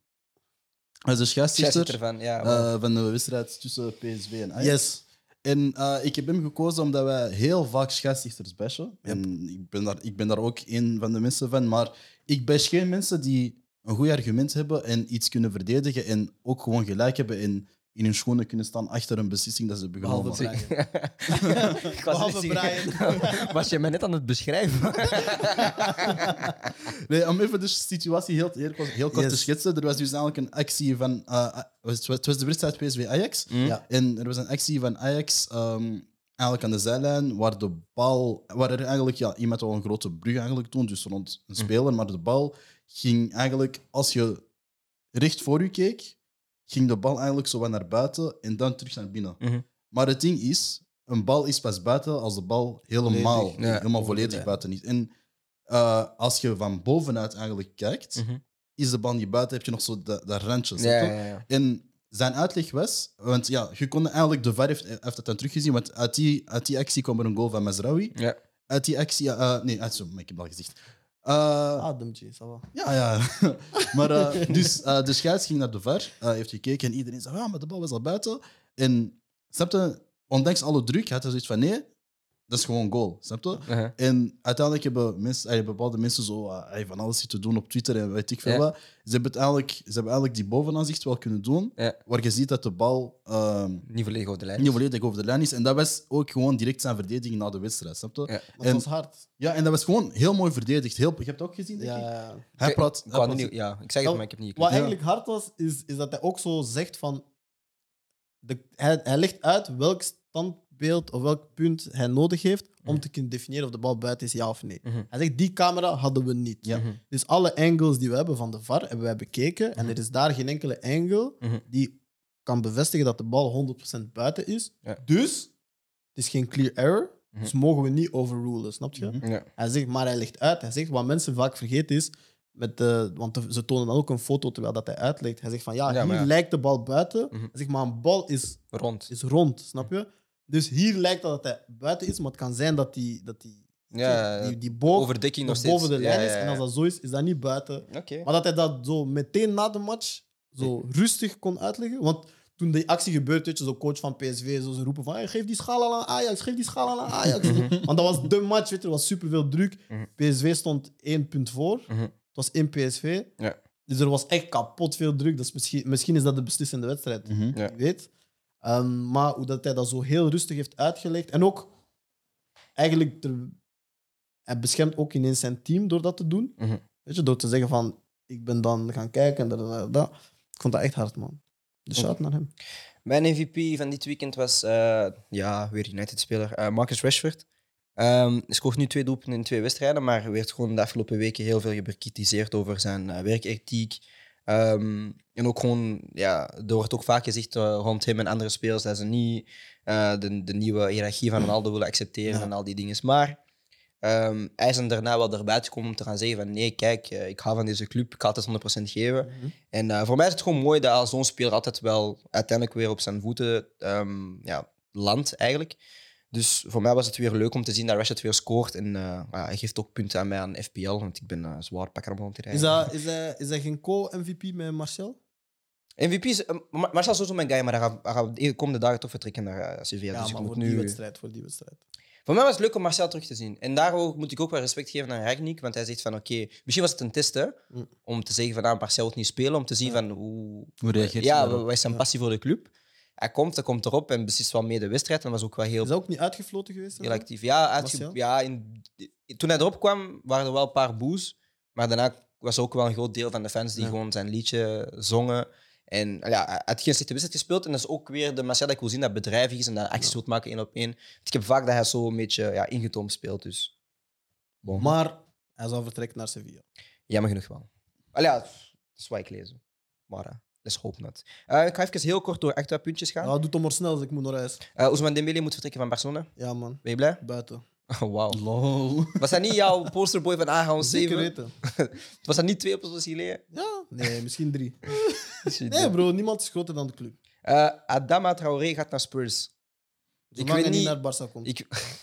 A: Hij is de
B: Jij zit
A: scheidsrechter.
B: ervan, ja.
A: Eh,
B: maar-
A: van de wedstrijd tussen PSV en Ajax.
C: Yes.
A: En eh, ik heb hem gekozen omdat wij heel vaak scheidsrechters bashen. En ik ben, daar, ik ben daar ook een van de mensen van. Maar ik bash geen mensen die een goed argument hebben en iets kunnen verdedigen. En ook gewoon gelijk hebben en in hun schoenen kunnen staan achter een beslissing dat ze hebben genomen.
C: Behalve Brian.
B: Ik was
C: Behalve
B: net zeggen- was je me net aan het beschrijven?
A: Nee, om even dus de situatie heel, heel, kort- heel kort
C: Yes.
A: te schetsen. Er was dus namelijk een actie van... eh, was het- het was de wedstrijd PSV-Ajax.
C: Ja.
A: En er was een actie van Ajax ehm, eigenlijk aan de zijlijn, waar de bal, waar er eigenlijk ja, iemand al een grote brug eigenlijk doen, dus rond een speler, maar de bal ging eigenlijk, als je recht voor je keek, ging de bal eigenlijk zo wat naar buiten en dan terug naar binnen.
B: Mhm.
A: Maar het ding is, een bal is pas buiten als de bal helemaal,
C: Volledig,
B: ja.
A: helemaal volledig
C: Ja.
A: buiten is. En eh, als je van bovenuit eigenlijk kijkt,
B: Mhm.
A: is de bal niet buiten, heb je nog zo dat, dat randje. snap
B: Ja,
A: je?
B: ja, ja.
A: En zijn uitleg was, want ja, je kon eigenlijk de VAR heeft, heeft dat dan teruggezien, want uit die, uit die actie kwam er een goal van Mazraoui.
B: Ja.
A: Uit die actie, ja, eh, nee, uit, sorry, maar ik heb het al gezegd.
B: Ah.
A: Eh,
C: Ademtje, Ah, ça va.
A: ja, ja. maar eh, dus eh, de scheids ging naar de VAR, eh, heeft gekeken en iedereen zei, ja, maar de bal was al buiten. En snap je, ondanks alle druk had hij zoiets van, nee, dat is gewoon goal, snap je?
B: Uh-huh.
A: En uiteindelijk hebben mensen, eh, bepaalde mensen zo eh, eh, van alles zitten doen op Twitter en weet ik veel
B: Ja.
A: wat. Ze hebben, het eigenlijk, ze hebben eigenlijk die bovenaanzicht wel kunnen doen,
B: Ja.
A: waar je ziet dat de bal ehm,
B: Niet volledig over de lijn.
A: niet volledig over de lijn is. En dat was ook gewoon direct zijn verdediging na de wedstrijd, snap je?
B: Ja.
A: Ja.
C: Dat
A: En-
C: was hard.
A: en dat was gewoon heel mooi verdedigd. Heel, je hebt het ook gezien, denk
C: Ja,
A: ik.
C: ja, ja.
A: Hij praat...
B: Ik
A: hij
B: wou
A: praat-
B: niet- ja, ik zeg het, maar ik heb niet
C: Wat
B: gekeken.
C: eigenlijk hard was, is, is dat hij ook zo zegt van... De, hij, hij legt uit welk standbeeld of welk punt hij nodig heeft om
B: Mhm.
C: te kunnen definiëren of de bal buiten is, ja of nee.
B: Mhm.
C: Hij zegt, die camera hadden we niet.
A: Ja.
B: Mhm.
C: Dus alle angles die we hebben van de VAR hebben wij bekeken. En
B: Mhm.
C: er is daar geen enkele angle
B: Mhm.
C: die kan bevestigen dat de bal 100% buiten is.
B: Ja.
C: Dus het is geen clear error.
B: Mhm.
C: Dus mogen we niet overrulen, snap je?
A: Mhm.
B: Ja.
C: Hij zegt, maar hij legt uit. Hij zegt, wat mensen vaak vergeten is, Met de, want de- ze tonen dan ook een foto terwijl dat hij uitlegt. Hij zegt van ja,
B: Ja,
C: hier
B: maar ja.
C: lijkt de bal buiten.
B: Mhm.
C: Hij zegt maar een bal is,
B: Rond.
C: is rond, snap je? Dus hier lijkt dat, dat hij buiten is, maar het kan zijn dat die, dat die,
B: Ja,
C: die, die boog
B: overdekking nog
C: nog
B: steeds.
C: boven de
B: Ja,
C: lijn
B: ja,
C: is.
B: ja.
C: En als dat zo is, is dat niet buiten.
B: Oké.
C: Maar dat hij dat zo meteen na de match zo rustig kon uitleggen. Want toen die actie gebeurde, weet je, zo'n coach van PSV, zo, ze roepen van hey, geef die schaal aan Ajax, geef die schaal aan Ajax. Want dat was de match, weet je, er was superveel druk.
B: Mhm.
C: PSV stond één punt voor.
B: Mhm.
C: Het was in PSV.
B: Ja.
C: Dus er was echt kapot veel druk. Dus misschien, misschien is dat de beslissende wedstrijd.
A: Mhm.
B: Ja.
C: Wie weet. Ehm, maar hoe dat hij dat zo heel rustig heeft uitgelegd. En ook, eigenlijk, ter- hij beschermt ook ineens zijn team door dat te doen.
B: Mhm.
C: Weet je, door te zeggen van, ik ben dan gaan kijken en dat, dat, dat, dat. Ik vond dat echt hard, man. Dus shout naar hem.
B: Mijn MVP van dit weekend was, eh, ja, weer United-speler, eh, Marcus Rashford. Ehm, hij scoort nu twee doelpunten in twee wedstrijden, maar werd gewoon de afgelopen weken heel veel bekritiseerd over zijn eh, werkethiek. Ehm, en ook gewoon, ja, er wordt ook vaak gezegd eh, rond hem en andere spelers dat ze niet eh, de, de nieuwe hiërarchie van Ronaldo willen accepteren
C: Ja.
B: en al die dingen. Maar ehm, hij is er daarna wel erbij gekomen om te gaan zeggen van nee, kijk, eh, ik hou van deze club, ik ga het 100% geven.
C: Mhm.
B: En eh, voor mij is het gewoon mooi dat als zo'n speler altijd wel uiteindelijk weer op zijn voeten ehm, ja, landt, eigenlijk. Dus voor mij was het weer leuk om te zien dat Rashford weer scoort. En eh, ja, hij geeft ook punten aan mij aan FPL, want ik ben eh, zwaar pakker om te
C: Is
B: rijden.
C: dat, is, hij, is hij geen co-MVP met Marcel?
B: MVP is... eh, Ma- Marcel is sowieso mijn guy, maar hij gaat, hij gaat de komende dagen toch vertrekken naar eh, Sevilla. dus ik
C: maar
B: moet
C: voor
B: nu...
C: die wedstrijd. Voor die wedstrijd.
B: Voor mij was het leuk om Marcel terug te zien. En daarom moet ik ook wel respect geven aan Ragnik, want hij zegt van oké, misschien was het een test hè,
C: Mm.
B: om te zeggen van nou, Marcel wil niet spelen, om te zien van hoe,
A: Hoe reageert hij
B: ja,
A: daarop?
B: wat is zijn
C: Ja.
B: passie voor de club. Hij komt, hij komt erop en beslist wel mee de wedstrijd en was ook wel heel,
C: Is hij ook niet uitgefloten geweest?
B: heel actief. Ja, uitge-
C: Marcel?
B: ja in, toen hij erop kwam waren er wel een paar boes, maar daarna was er ook wel een groot deel van de fans die
C: Ja.
B: gewoon zijn liedje zongen. En ja, hij had geen slechte wedstrijd gespeeld. En dat is ook weer de Marcel dat ik wil zien dat bedrijvig is en dat acties
C: Ja.
B: wilt maken één op één. Want Ik heb vaak dat hij zo een beetje ja, ingetoomd speelt. Dus. Bon.
C: Maar hij zal vertrekken naar Sevilla.
B: Jammer genoeg wel. Al ja, dat is wat ik lees. Maar eh, let's hope not. Eh, ik ga even heel kort door extra puntjes gaan.
C: Ja, doe het maar snel, dus ik moet naar huis.
B: Eh Ousmane Dembele moet vertrekken van Barcelona.
C: Ja, man.
B: Ben je blij?
C: Buiten.
B: Oh, wauw.
A: Lol.
B: Was dat niet jouw posterboy van Aarhus
C: Zeker
B: 7?
C: weten.
B: Was dat niet twee opties geleden?
C: Ja, nee, misschien drie. Nee,
B: Eh
C: bro, niemand is groter dan de club.
B: Adama Traoré gaat naar Spurs.
C: Zolang ik weet niet naar Barça komt.
B: Ik,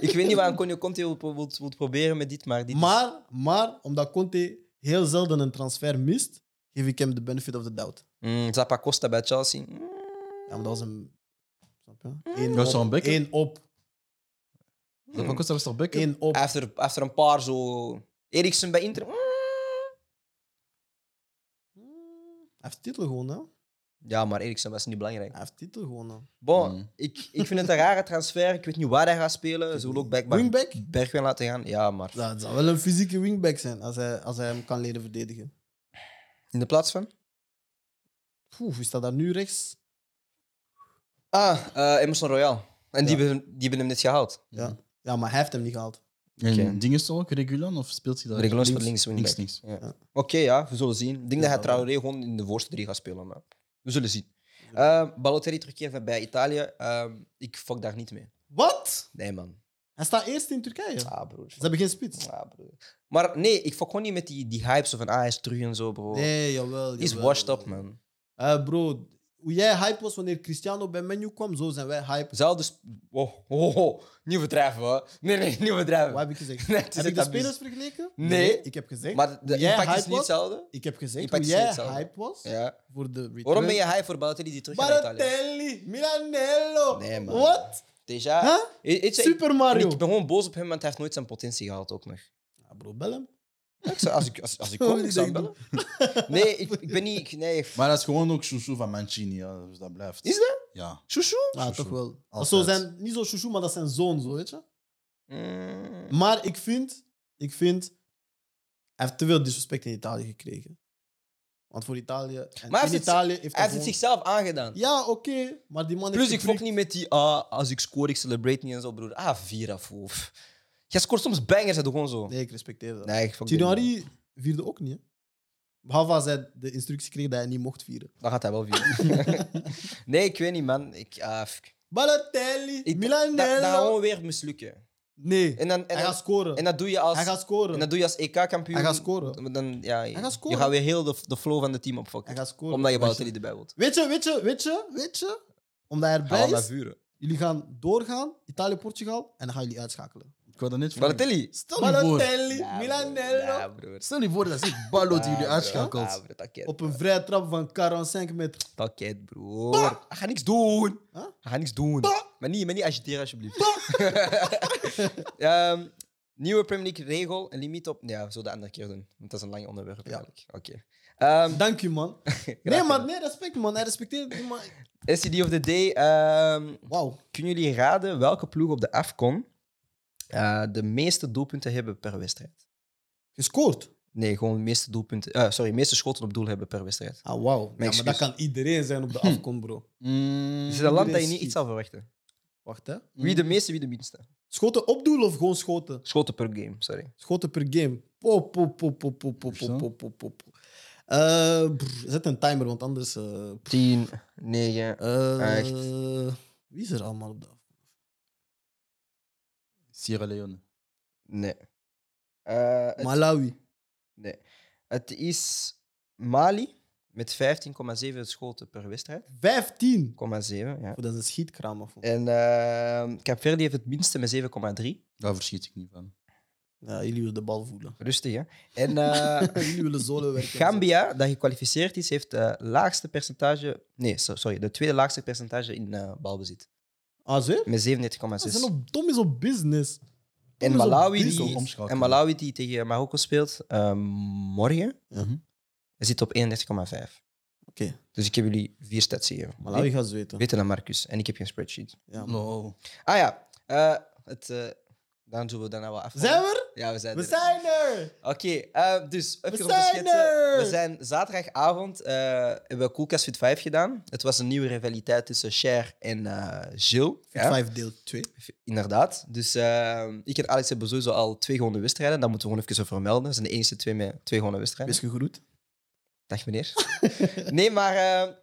B: ik weet niet waar Antonio Conte wil, wil, wil proberen met dit, maar dit is-
C: Maar, maar, omdat Conte heel zelden een transfer mist, geef ik hem de benefit of the doubt.
B: Mm, Zappa Costa bij Chelsea. Mm.
C: Ja, maar dat was een. Snap je? Eén
A: Dat is wel een
C: op,
A: backup.
C: één op,
A: Dat
B: Mm.
A: van Costa was toch backup?
C: één op.
B: After, after een paar zo... Eriksen bij Inter. Mm.
C: Hij heeft titel gewonnen.
B: Ja, maar Eriksen was niet belangrijk.
C: Hij heeft titel gewonnen.
B: Bon,
A: Mm.
B: ik, ik vind het een rare transfer. Ik weet niet waar hij gaat spelen. Ze willen ook blijkbaar
C: Wingback?
B: Bergwijn laten gaan. Ja, maar
C: Ja, het zou wel een fysieke wingback zijn als hij, als hij hem kan leren verdedigen.
B: in de plaats van...
C: Poeh, wie staat daar nu rechts?
B: Ah, eh Emerson Royal. En die,
C: Ja.
B: hebben, die hebben hem net gehaald.
C: Ja. ja, maar hij heeft hem niet gehaald.
A: En
B: Oké.
A: ding is toch ook Regulan of speelt hij daar?
B: Regulon speelt links
A: Links,
B: wingback.
A: links.
B: Ja.
C: Ja.
B: Oké, ja, we zullen zien. Ik denk dat hij
C: dat wel.
B: Traoré gewoon in de voorste drie gaat spelen. Maar we zullen zien. Eh Balotelli terugkeert bij Italië. Ehm, ik fuck daar niet mee.
C: Wat?
B: Nee, man.
C: Hij staat eerst in Turkije. Ze
B: Ah, broer.
C: hebben geen spits.
B: Ah, broer. Maar nee, ik fuck gewoon niet met die, die hype zo van ah, hij is terug en zo, bro.
C: Nee, jawel.
B: Hij is
C: jawel,
B: washed up,
C: jawel.
B: man.
C: Eh, bro, hoe jij hype was wanneer Cristiano bij menu kwam, zo zijn wij hype.
B: Zelfde. sp- Oh, oh, oh. Niet overdrijven, hoor. Nee, nee, niet overdrijven.
C: Wat heb ik gezegd?
B: Nee, het is
C: heb
B: het
C: ik de
B: abuse.
C: spelers vergeleken?
B: Nee.
C: Ik heb gezegd.
B: Maar de
C: hoe jij
B: impact is
C: hype
B: niet
C: was,
B: hetzelfde.
C: ik heb gezegd
B: impact
C: hoe
B: is niet
C: jij
B: hetzelfde.
C: hype was
B: Ja.
C: voor de return.
B: Waarom ben je high voor Balotelli die terug gaat naar Italië?
C: Baratelli, Milanello.
B: Nee, man.
C: Wat?
B: Deja.
C: Huh?
B: I- it's-
C: Super Mario.
B: Ik ben gewoon boos op hem, want hij heeft nooit zijn potentie gehaald ook nog.
C: Ja, bro, bel hem.
B: Ik zou- als, ik, als, als ik kon, ik zou hem bellen. Nee, ik, ik ben niet... ik- Nee, f-
A: Maar dat is gewoon ook Chouchou van Mancini, ja, dus dat blijft.
B: Is
A: dat? Ja.
B: Chouchou?
C: Ja, toch wel. Dat
A: Altijd.
C: zo zijn, niet zo chouchou, maar dat zijn zoon, zo, weet je.
B: Mm,
C: Maar ik vind, ik vind, hij heeft te veel disrespect in Italië gekregen. Want voor Italië. En
B: Maar hij
C: in
B: heeft het-
C: Italië heeft
B: hij heeft het
C: gewoon-
B: zichzelf aangedaan.
C: Ja, oké, maar die man. heeft
B: Plus, ik
C: geprikt.
B: fok niet met die... Ah, als ik score, ik celebrate niet en zo, broer. Ah, Vira, foof. Jij scoort soms bangers, dat doe gewoon zo.
C: Nee, ik respecteer dat.
B: Nee, ik fok dit
C: Thierry
B: niet.
C: Henry vierde ook niet. Hè? Behalve als hij de instructie kreeg dat hij niet mocht vieren.
B: Dan gaat hij wel vieren. nee, ik weet niet, man. Ik, ah, f-
C: Balotelli,
B: Ik- dat, dat
C: Milanello.
B: gaat gewoon weer mislukken.
C: Nee,
B: En, dan, en,
C: hij
B: dan-
C: gaat scoren.
B: en dat doe je als,
C: hij gaat scoren.
B: en dat doe je als EK-kampioen.
C: Hij gaat scoren.
B: Dan, ja, je-
C: gaat scoren.
B: Je gaat weer heel de, de flow van het team
C: hij
B: opfokken.
C: gaat scoren.
B: Omdat je
C: Weet
B: Balotelli erbij wilt.
C: Weet je, weet je, weet je, weet je. Omdat hij
B: Ga
C: erbij
B: naar
C: is.
B: vuren.
C: Jullie gaan doorgaan, Italië-Portugal, en dan gaan jullie uitschakelen.
A: Ik wou dat net vragen.
B: Balotelli.
A: Stel je voor,
B: Ja, broer. Ja, broer.
A: stel je voor dat ik Balot
B: Ja,
A: jullie
B: broer. Ja,
A: uitschakelt.
B: broer, Takket.
C: Op een vrije trap van 45 meter.
B: Takket, broer. Hij gaat Ah! niks doen.
C: Huh?
B: Hij gaat niks doen. Maar niet, maar niet agiteren, alsjeblieft. Ehm, nieuwe Premier League regel, een limiet op... Ja, we zullen dat andere keer doen. Want dat is een lang onderwerp eigenlijk. Oké. Ehm,
C: Dank je, man. Nee,
B: gedaan.
C: maar nee, respect, man. Hij respecteert die man.
B: SCD of the day. ehm,
C: Wauw.
B: kunnen jullie raden welke ploeg op de AFCON eh, de meeste doelpunten hebben per wedstrijd?
C: Gescoord.
B: Nee, gewoon de meeste doelpunten... eh, sorry, de meeste schoten op doel hebben per wedstrijd.
C: Ah, wauw. Ja, maar
B: excuus. Hm.
C: dat kan iedereen zijn op de afkom, bro.
A: Hmm.
B: Het Dus is een land dat je niet
C: schiet.
B: iets zou verwachten.
C: Wacht, hè.
B: Wie de meeste, wie de minste.
C: Schoten op doel of gewoon schoten?
B: Schoten per game, sorry.
C: Schoten per game. Pop, pop, pop, pop, pop, pop,
A: Zo.
C: pop, pop, pop, pop. Eh, brr, zet een timer, want anders... eh,
B: 10, 9,
C: eh,
B: Echt.
C: Wie is er allemaal op de afkom?
A: Sierra Leone.
B: Nee. Eh, het,
C: Malawi.
B: nee. Het is Mali met 15,7 schoten per wedstrijd.
C: 15.
B: 0,7, ja.
C: Oh, dat is een schietkraam. Of...
B: En eh Capverdi heeft het minste met 7,3.
A: Daar verschiet ik niet van.
C: Ja, jullie willen de bal voelen.
B: Rustig, hè? En eh,
C: jullie willen zolen werken.
B: Gambia, dat gekwalificeerd is, heeft het laagste percentage... Nee, so- sorry. De tweede laagste percentage in eh, balbezit.
C: Ah, zeker?
B: Met 37,6.
C: Ze zijn op, Tom is op business. Tom
B: En
C: is op
B: Malawi,
C: business.
A: Zo
B: die,
A: omschakelen.
B: en Malawi, die tegen Marokko speelt eh, morgen,
C: Mhm.
B: zit op 31,5.
C: Oké.
B: Dus ik heb jullie vier stats gegeven.
C: Malawi gaat zweten.
B: Beter dan Marcus. En ik heb geen spreadsheet.
C: Ja, man.
A: No.
B: Ah ja, eh, het, eh, dan doen we daarna wel af.
C: Zijn we er?
B: Ja, we zijn
C: We
B: er.
C: zijn er!
B: Oké, eh, dus even
C: We
B: om te
C: zijn
B: schetsen.
C: er!
B: We zijn zaterdagavond eh, hebben we Coolcast Fit 5 gedaan. Het was een nieuwe rivaliteit tussen Cher en eh Gilles.
C: Fit
B: Ja,
C: 5 deel 2.
B: Inderdaad. Dus eh, ik en Alex hebben sowieso al twee gewone wedstrijden. Dat moeten we gewoon even zo vermelden. Dat zijn de enige twee met twee gewone wedstrijden.
C: Wees gegroet.
B: Dag meneer. nee, maar eh,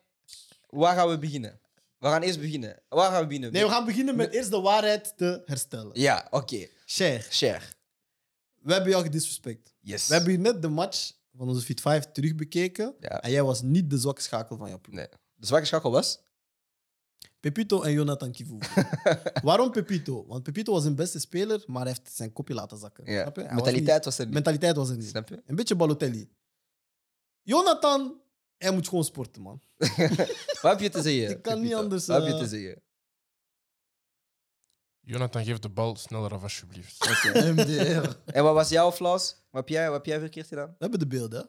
B: waar gaan we beginnen? We gaan eerst beginnen. Waar gaan we beginnen?
C: Nee, we gaan beginnen met eerst de waarheid te herstellen.
B: Ja, oké.
C: Cher,
B: Cher.
C: we hebben jou gedisrespect.
B: Yes.
C: We hebben hier net de match van onze Fit 5 terugbekeken.
B: Ja.
C: En jij was niet de zwakke schakel van jouw ploeg.
B: Nee. De zwakke schakel was?
C: Pepito en Jonathan Kivu. Waarom Pepito? Want Pepito was een beste speler, maar hij heeft zijn kopje laten zakken. Snap je? Hij was
B: Mentaliteit was, er
C: niet-
B: niet.
C: mentaliteit was er niet.
B: Snap je?
C: Een beetje Balotelli. Jonathan, hij moet gewoon sporten, man.
B: Wat heb je te zeggen?
C: Ik kan niet
B: Pepito?
C: anders,
B: Wat heb je
C: eh,
B: te zeggen?
D: Jonathan, geef de bal sneller af, alsjeblieft.
A: MDR.
B: En wat was jouw flaws? Wat heb jij, wat heb jij verkeerd gedaan?
C: We hebben de beelden. hè?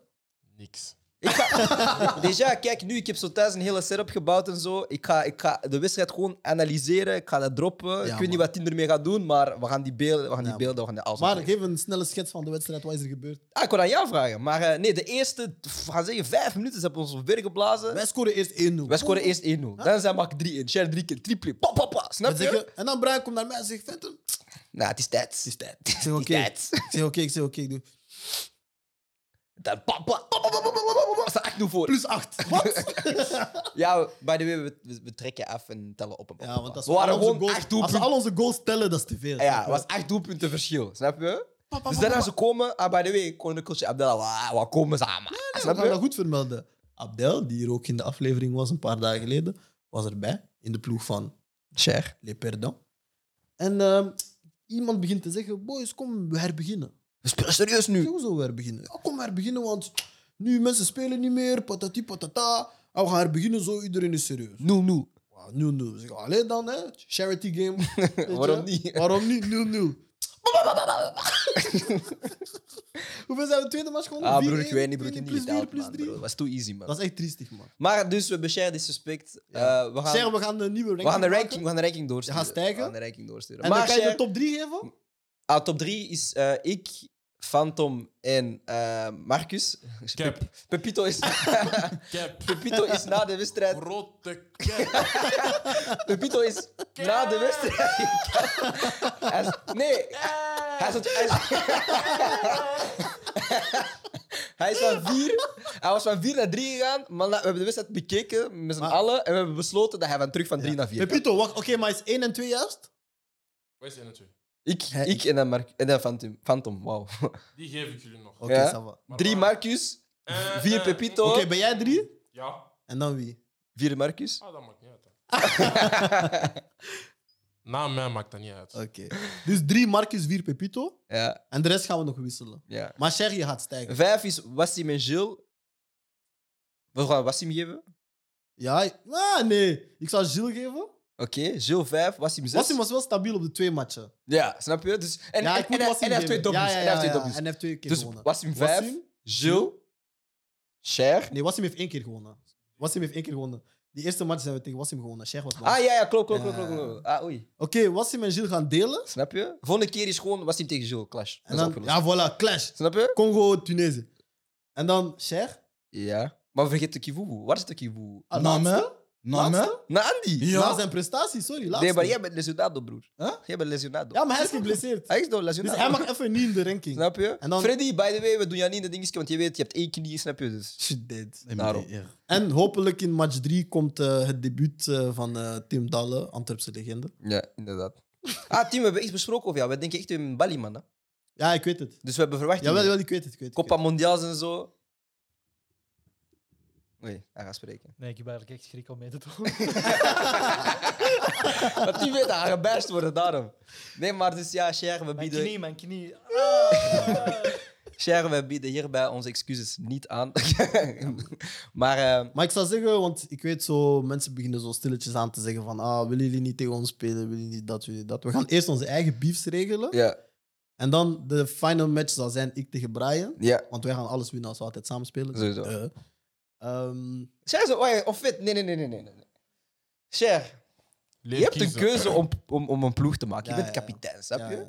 D: Niks.
B: Ik ga... Déjà, kijk nu, ik heb zo thuis een hele setup gebouwd en zo. Ik ga, ik ga de wedstrijd gewoon analyseren. Ik ga dat droppen. ik weet
C: man.
B: niet wat Tinder mee gaat doen, maar we gaan die beelden, we gaan die
C: Ja,
B: beelden, we gaan de alles
C: Maar
B: opnemen.
C: geef een snelle schets van de wedstrijd. Wat is er gebeurd?
B: Ah, ik kon aan jou vragen. Maar eh, nee, de eerste, pff, we gaan zeggen, vijf minuten ze hebben ons weer geblazen.
C: Wij scoren eerst 1-0.
B: Wij scoren eerst 1-0. Dan zijn Mark 3-1. Cher 3 keer triple. Pa, pa, pa.
C: En,
B: Snap je?
C: zeggen- en dan Brian komt naar mij en zegt: Fenton,
B: Nou, het is tijd. Het is tijd. Het
C: zeg, oké.
B: tijd.
C: Ik zeg oké, ik zeg oké, ik doe.
B: Dan pa, pa, pa, pa, pa, pa, pa, pa, pa, staat echt nu voor.
C: Plus 8. Wat?
B: Ja, by the way, we, we- we trekken af en tellen op. en op en
C: Ja,
B: op.
C: want als
B: we
C: we,
B: waren
C: al onze
B: gewoon
C: goals,
B: acht
C: als we
B: doelpunten.
C: al onze goals tellen, dat is te veel.
B: Ja, het was acht doelpunten verschil. Snap je?
C: Pa, pa,
B: Dus
C: pa,
B: daarna
C: pa,
B: ze komen. Ah, by the way, koninkrijk Abdallah. Wat komen ze aan? man?
C: pa.
B: Snap
C: we gaan dat
B: je?
C: goed vermelden. Abdel, die hier ook in de aflevering was een paar dagen geleden, was erbij in de ploeg van
B: Cher.
C: Les Perdants. En ehm, iemand begint te zeggen: Boys, kom we herbeginnen.
B: We spelen serieus
C: Ik
B: nu.
C: zeg, Hoezo we herbeginnen? Ja, kom we herbeginnen, want nu mensen spelen niet meer, patati patata. En we gaan herbeginnen, zo iedereen is serieus.
B: Nu, nu.
C: Ja, 0-0. Ik zeg, Allee dan, hè? Charity game. Weet je?
B: Waarom niet?
C: Waarom niet? 0-0. Hoeveel zijn we de tweede match gewonnen?
B: Ah,
C: 4-1,
B: broer, ik weet niet, broer. Ik heb
C: 1-1,
B: niet
C: plus 4,
B: gedaan,
C: plus
B: man.
C: 3.
B: bro. Dat was too easy, man.
C: Dat is echt triestig, man.
B: Maar dus, we hebben Cher disrespect.
C: Ja.
B: Eh, we gaan...
C: Zeg, we gaan de nieuwe ranking
B: We gaan, de
C: maken.
B: ranking, we gaan de ranking doorsturen.
C: Je gaat stijgen?
B: We gaan de ranking doorsturen.
C: En
B: maar
C: dan kan je
B: Cher-
C: de top 3 geven?
B: ah, top 3 is eh, ik, Phantom en eh, Marcus.
D: Cap.
B: Pep- Pepito is,
D: Cap.
B: Pepito is na de wedstrijd.
D: Rotte cap.
B: Pepito is na de wedstrijd. Hij is- nee, hij zat. Hij, is- hij is van 4. Hij was van 4 naar 3 gegaan, maar na- we hebben de wedstrijd bekeken met z'n
C: Maar-
B: allen en we hebben besloten dat hij van terug van 3 naar 4
C: Pepito, wacht. Oké, maar is 1 en 2 juist?
D: Wij zijn het twee.
B: Ik,
C: Hij-
B: ik en dan, Mark, en dan Phantom. Phantom, wauw.
D: Die geef ik jullie nog.
C: Oké,
B: Ja.
C: ça va.
D: Maar
B: Drie
D: waar-
B: Marcus,
D: Eh,
B: vier
D: eh,
B: Pepito.
C: Oké, ben jij drie?
D: Ja,
C: En dan wie?
B: vier Marcus.
D: ah, dat maakt niet uit. hè. Na mij maakt dat niet uit.
C: Oké. Dus drie Marcus, vier Pepito.
B: Ja,
C: En de rest gaan we nog wisselen.
B: ja.
C: Maar Sherry gaat stijgen.
B: Vijf is Wassim en Gilles. We gaan Wassim geven.
C: Ja, ah, nee. Ik zou Gilles geven.
B: Oké, Gilles vijf, Wassim zes.
C: Wassim was wel stabiel op de twee matchen.
B: Ja, snap je? Dus, en,
C: ja,
B: en,
C: ik moet
B: en, hij-
C: Wassim
B: en hij heeft twee
C: geven.
B: dobbels.
C: Ja, ja,
B: en hij heeft twee
C: ja, ja.
B: dobbels.
C: En hij heeft twee keer
B: Dus
C: gewonnen.
B: Wassim vijf,
C: Wassim,
B: Gilles, Cher.
C: Nee, Wassim heeft één keer gewonnen. Wassim heeft één keer gewonnen. Die eerste match zijn we tegen Wassim gewonnen. Sher was bang.
B: Ah ja, ja, klopt, klopt, klopt,
C: Ja.
B: klopt, klopt. Ah, oei.
C: Oké, Wassim en Gilles gaan delen.
B: Snap je? Volgende keer is gewoon Wassim tegen Gilles, clash. Dat
C: En
B: is
C: dan,
B: opgelost.
C: ja, voilà, clash.
B: Snap je?
C: Congo, Tunesië. En dan Cher.
B: Ja. Maar vergeet de Kivubu. Waar is de Kivubu?
C: Ah,
A: Nam, hè?
C: laatste.
A: Nam, hè?
C: Laatste?
B: Na Andy.
A: Ja.
C: Na zijn prestatie, sorry. Laatste.
B: Nee, maar jij bent lesionado, broer.
A: Huh?
B: Jij bent lesionado.
C: Ja, maar hij is geblesseerd.
B: Hij is door
C: Dus
B: lesionado.
C: hij mag even niet in de ranking.
B: Snap je?
C: En dan-
B: Freddy, by the way, we doen jou niet in de dingetje, want je weet, je hebt één knie, snap je? Dus.
C: Shit, dead.
A: Nee, maar
B: Daarom.
A: nee, ja.
C: En hopelijk in match 3 komt eh, het debuut eh, van eh, Tim Dalle, Antwerpse legende.
B: Ja, inderdaad. Ah, team, we hebben echt besproken over jou. We denken echt in Bali, man. Hè?
C: Ja, ik weet het.
B: Dus we hebben verwacht.
C: Jawel, jawel, ik weet het. Ik weet het, ik
B: Copa
C: weet
B: Mondials en zo. Nee, hij gaat spreken.
E: Nee, ik heb eigenlijk echt schrik om mee te doen.
B: Want die weet dat hij gebashed wordt, daarom. Nee, maar dus ja, Cher, we
E: Mijn
B: bieden,
E: knie, mijn knie. Ah.
B: Cher, we bieden hierbij onze excuses niet aan. maar eh,
C: het. Maar ik zou zeggen, want ik weet zo, mensen beginnen zo stilletjes aan te zeggen van ah, willen jullie niet tegen ons spelen, willen jullie niet dat, willen jullie dat. We gaan eerst onze eigen beefs regelen.
B: ja,
C: En dan de final match zal zijn ik tegen Brian.
B: ja.
C: Want wij gaan alles winnen als we altijd samen spelen.
B: Sowieso.
C: Eh. Ehm,
B: Cher zo, oei, of fit. Nee, nee, nee, nee, nee. nee. Cher,
D: Leer
B: je hebt een
D: kiezen.
B: keuze om, om, om een ploeg te maken. je
C: Ja,
B: bent
C: ja.
B: kapitein, snap
C: ja,
B: je?
C: ja.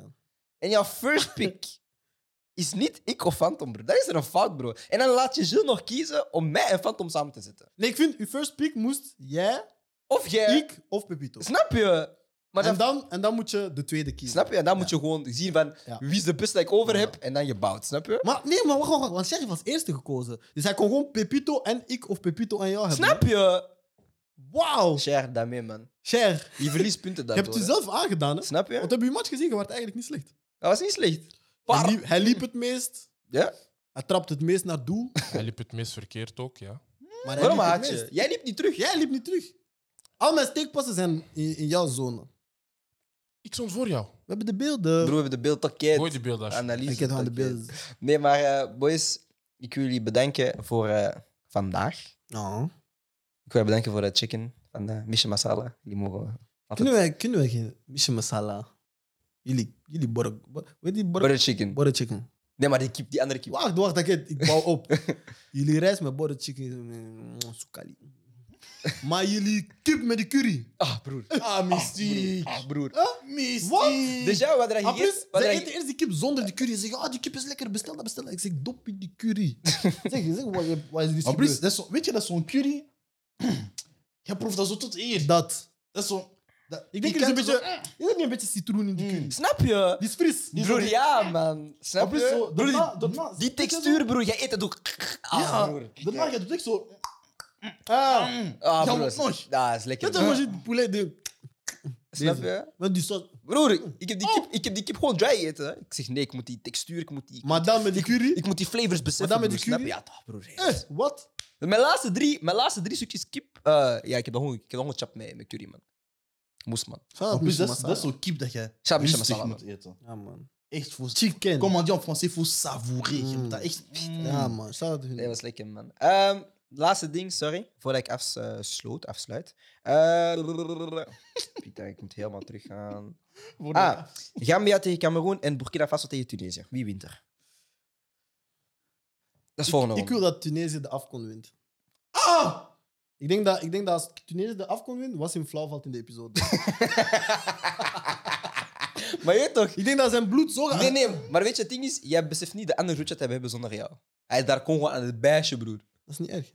B: En jouw first pick is niet ik of Phantom, bro. Dat is er een fout, bro. En dan laat je Gilles nog kiezen om mij en Phantom samen te zetten.
C: Nee, ik vind, uw first pick moest jij,
B: Of jij.
C: ik of Pepito.
B: Snap je? Maar
C: en,
B: dan,
C: dan, en dan moet je de tweede kiezen.
B: snap je? En dan moet je gewoon zien van
C: Ja.
B: wie is de beste dat ik over heb. En dan je bouwt, snap je?
C: Maar nee, maar wacht, wacht, wacht, want Sheriff was eerste gekozen. Dus hij kon gewoon Pepito en ik of Pepito en jou hebben.
B: Snap je?
C: Wauw,
B: Cher, daarmee, man.
C: Cher.
B: Je verliest punten
C: Je
B: daardoor.
C: hebt het u
B: hè.
C: zelf aangedaan, hè?
B: Snap je?
C: Want heb je uw match gezien, je werd eigenlijk niet slecht.
B: Dat was niet slecht.
C: Hij
B: Paar...
C: liep, hij liep het meest,
B: Ja?
C: hij trapte het meest naar doel.
D: Hij liep het meest verkeerd ook, ja.
C: Maar hij
B: Waarom
C: liep het
B: haat je?
C: meest.
B: Jij liep niet terug.
C: Jij liep niet terug. Al mijn steekpassen zijn in, in jouw zone.
D: Ik stond voor jou.
C: We hebben de beelden.
B: Bro, we hebben de beeld al
D: Gooi die beelden alsjeblieft.
B: Analyse.
C: ik heb aan de
B: pakket.
C: beelden.
B: Nee, maar eh, boys, ik wil jullie bedanken voor eh, vandaag.
C: Oh.
B: Ik wil je bedanken voor het chicken van de Mission Masala. Jullie mogen altijd...
C: Kunnen wij, kunnen wij geen Michel Masala? Jullie, jullie borg. Weet die borg?
B: Butter chicken.
C: Borg chicken.
B: Nee, maar die, kip, die andere kip.
C: Wacht, wacht, ik, ik bouw op. jullie rijst met borg chicken. mm, Sukali. Maar jullie kip met de curry.
B: Ah, broer.
C: Ah, mystiek.
B: Ah, broer.
C: Wat?
B: Dus ja, wat er
C: En plus,
B: gegeten... wat
C: zij
B: er
C: eten eerst die kip zonder die curry. Ze zeggen, ah, die kip is lekker, bestel dat, bestel dat. Ik zeg, dop in die curry. zeg, zeg, wat, wat is die
A: Maar Bruce, dat is zo- weet je, dat is zo'n curry. Je proeft dat zo tot eer.
C: Dat.
A: Dat is zo... Dat,
C: Ik denk, er
A: je
C: is een
A: kent
C: beetje,
A: zo-
C: er is er niet een beetje citroen in die
A: Mm.
C: curry.
B: Snap je?
C: Die is fris. Die is
B: Broer,
C: ook-
B: ja, man.
A: Maar
B: Snap
A: Bruce, zo,
B: je?
A: daarna-
B: Broer, die,
A: daarna-
B: die textuur, broer. Jij eet het ook. Ah,
A: Ja,
B: broer.
A: daarna gaat het echt zo...
C: Ah.
A: Mm. Ja,
B: Ah, broer.
A: wat nog?
B: Ja, is
C: Je
B: lekker.
C: hebt toch gewoon die poulet de...
B: Snap
C: Deze.
B: je?
C: Met die saus.
B: Broer, ik heb die kip, ik heb die kip gewoon dry eten. hè. Ik zeg, nee, ik moet die textuur, ik moet die...
C: Maar dan met die curry.
B: Ik moet die flavors beseffen.
C: Maar dan met
B: broer,
C: die
B: snap je?
C: curry?
B: Ja, toch, broer.
C: Eh, wat?
B: Mijn laatste drie, mijn laatste drie stukjes kip. eh, ja, ik heb nog ik heb nog een chap mee met curry, man. Moes, man.
C: Shout
A: Maar
C: out
A: Bruce,
C: Michel
A: dat is, dat is
C: Masala.
A: zo'n kip dat je
B: Shout out Michel
A: rustig
B: Masala,
A: moet eten.
C: Ja, man.
A: Echt voor...
C: Chicken.
A: Comme on dit en français, faut savourer. Je
C: Mm.
A: moet dat echt...
C: Ja, man. Shout out hun.
B: Nee, was lekker, man. Ehm, laatste ding, sorry. Voordat ik afsloot, afsluit. Eh, Pieter, ik moet helemaal teruggaan.
A: Voor de-
B: Ah, Gambia tegen Cameroen en Burkina Faso tegen Tunesië. Wie wint er? Dat is volgende
C: Ik wil
B: ronde.
C: dat Tunesië de afkon wint.
B: Ah!
C: Ik denk dat, ik denk dat als Tunesië de afkon wint, was in flauw valt in de episode.
B: Maar je weet toch?
C: ik denk dat zijn bloed zo gaat...
B: Nee, nee, maar weet je, het ding is, jij beseft niet de andere route dat we hebben zonder jou. Hij is daar gewoon aan het bijsje, broer.
C: Dat is niet erg.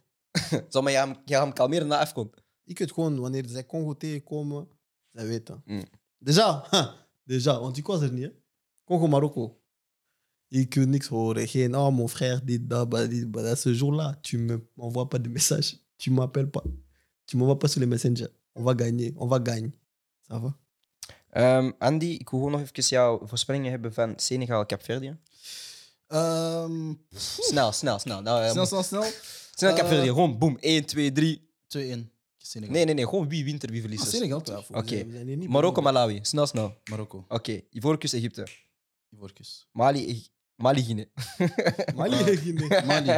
B: Zal maar, jij gaat hem- jij gaat hem kalmeren na afkomt.
C: Ik weet gewoon, wanneer zij Congo tegenkomen, zij weten.
B: Mm.
C: Déjà, ha, déjà, want ik was er niet. hè. Congo-Marokko. Ik wil niks horen. Geen, oh mon frère, dit, dat, bah, dit, bah, dat. Ce jour-là, tu ne m'envoies pas de message. Tu m'appelles pas. Tu m'envoies pas sur les messenger. On va gagner, on va gagner. Ça va?
B: Ehm, Andy, ik wil gewoon nog even jouw voorspellingen hebben van Senegal Capverdië.
A: Ehm,
B: Snel, snel, snel. Nou, ehm,
A: snel, snel, snel.
B: snel
A: eh,
B: Capverdië. Gewoon boom. 1, 2,
A: 2-1.
B: 3.
A: Senegal.
B: Nee, nee, nee. Gewoon wie wint er, wie verliest.
A: Ah,
B: er.
A: Senegal 12.
B: Oké.
C: We zijn hier niet
B: Marokko,
C: begonnen.
B: Malawi. Snel, snel. Oké.
A: Marokko.
B: Ivoorkust, Egypte.
A: Ivorcus.
B: Mali, Eg- Mali, Guinea.
C: Mali.
B: Ah.
A: Eh,
C: Guinea.
A: Mali.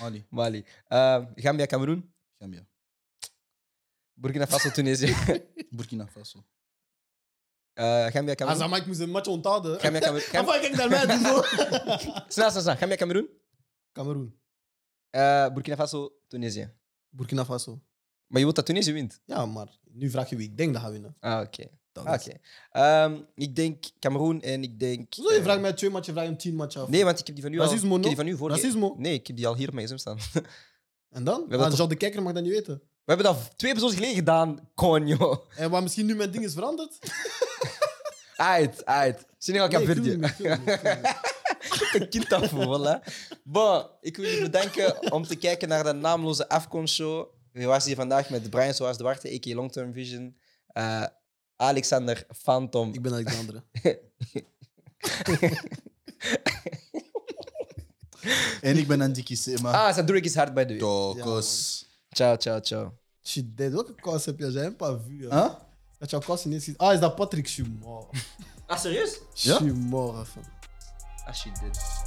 A: Mali.
B: Mali. Ehm, Gambia, Cameroen.
A: Gambia.
B: Burkina Faso, Tunesië.
A: Burkina Faso.
B: Eh, Gambia,
C: Ah,
B: Cameroen.
C: zeg maar, ik moest een match onthouden.
B: Gambia, Cameroen. Gam-
C: Enfin, kijk naar mij, die zo.
B: Snel, snel, snel. Gambia, Cameroen.
C: Cameroen.
B: Eh, Burkina Faso, Tunesië.
C: Burkina Faso.
B: Maar je wilt dat Tunesië wint?
C: Ja, maar nu vraag je wie ik denk dat gaat winnen.
B: Ah, oké.
A: Dat
B: Ah,
A: is-
B: oké. Ehm, ik denk Cameroen en ik denk...
C: Zo, je
B: eh,
C: vraagt mij twee matchen, je vraagt hem tien matchen af.
B: Nee, want ik heb die van u al...
C: Racisme,
B: ik heb
C: no?
B: die van u vorige...
C: Racisme.
B: Nee, ik heb die al hier op mijn gsm staan.
C: En dan?
B: hebben
C: Ah,
B: toch-
C: Jean de Kijker mag dat niet weten.
B: We hebben dat twee episodes geleden gedaan, conjo.
C: En waar misschien nu mijn ding is veranderd? Nee,
B: Uit, uit. Senegal,
C: ik wil
B: Capverdië.
C: niet meer, ik wil niet meer, ik wil niet meer.
B: een kind af, voilà. Bon, ik wil jullie bedanken om te kijken naar de naamloze Afcon-show. We waren hier vandaag met Brian Soares Duarte, a.k.a. Long Term Vision. eh, Alexander Phantom.
C: Ik ben Alexandre.
A: En ik ben Andiki Sema.
B: Ah, zijn druk is hard bij de
A: Tokos.
B: Ciao, ciao, ciao.
C: Shit, dead. Welke kous heb je? Als jij hem pas vu. hè?
A: Huh?
C: Dat jouw kous ineens ziet. Ah, is dat Patrick Schumor?
B: Ah, serieus?
A: Ja?
C: Schumor, even.
B: Ah, shit, dit.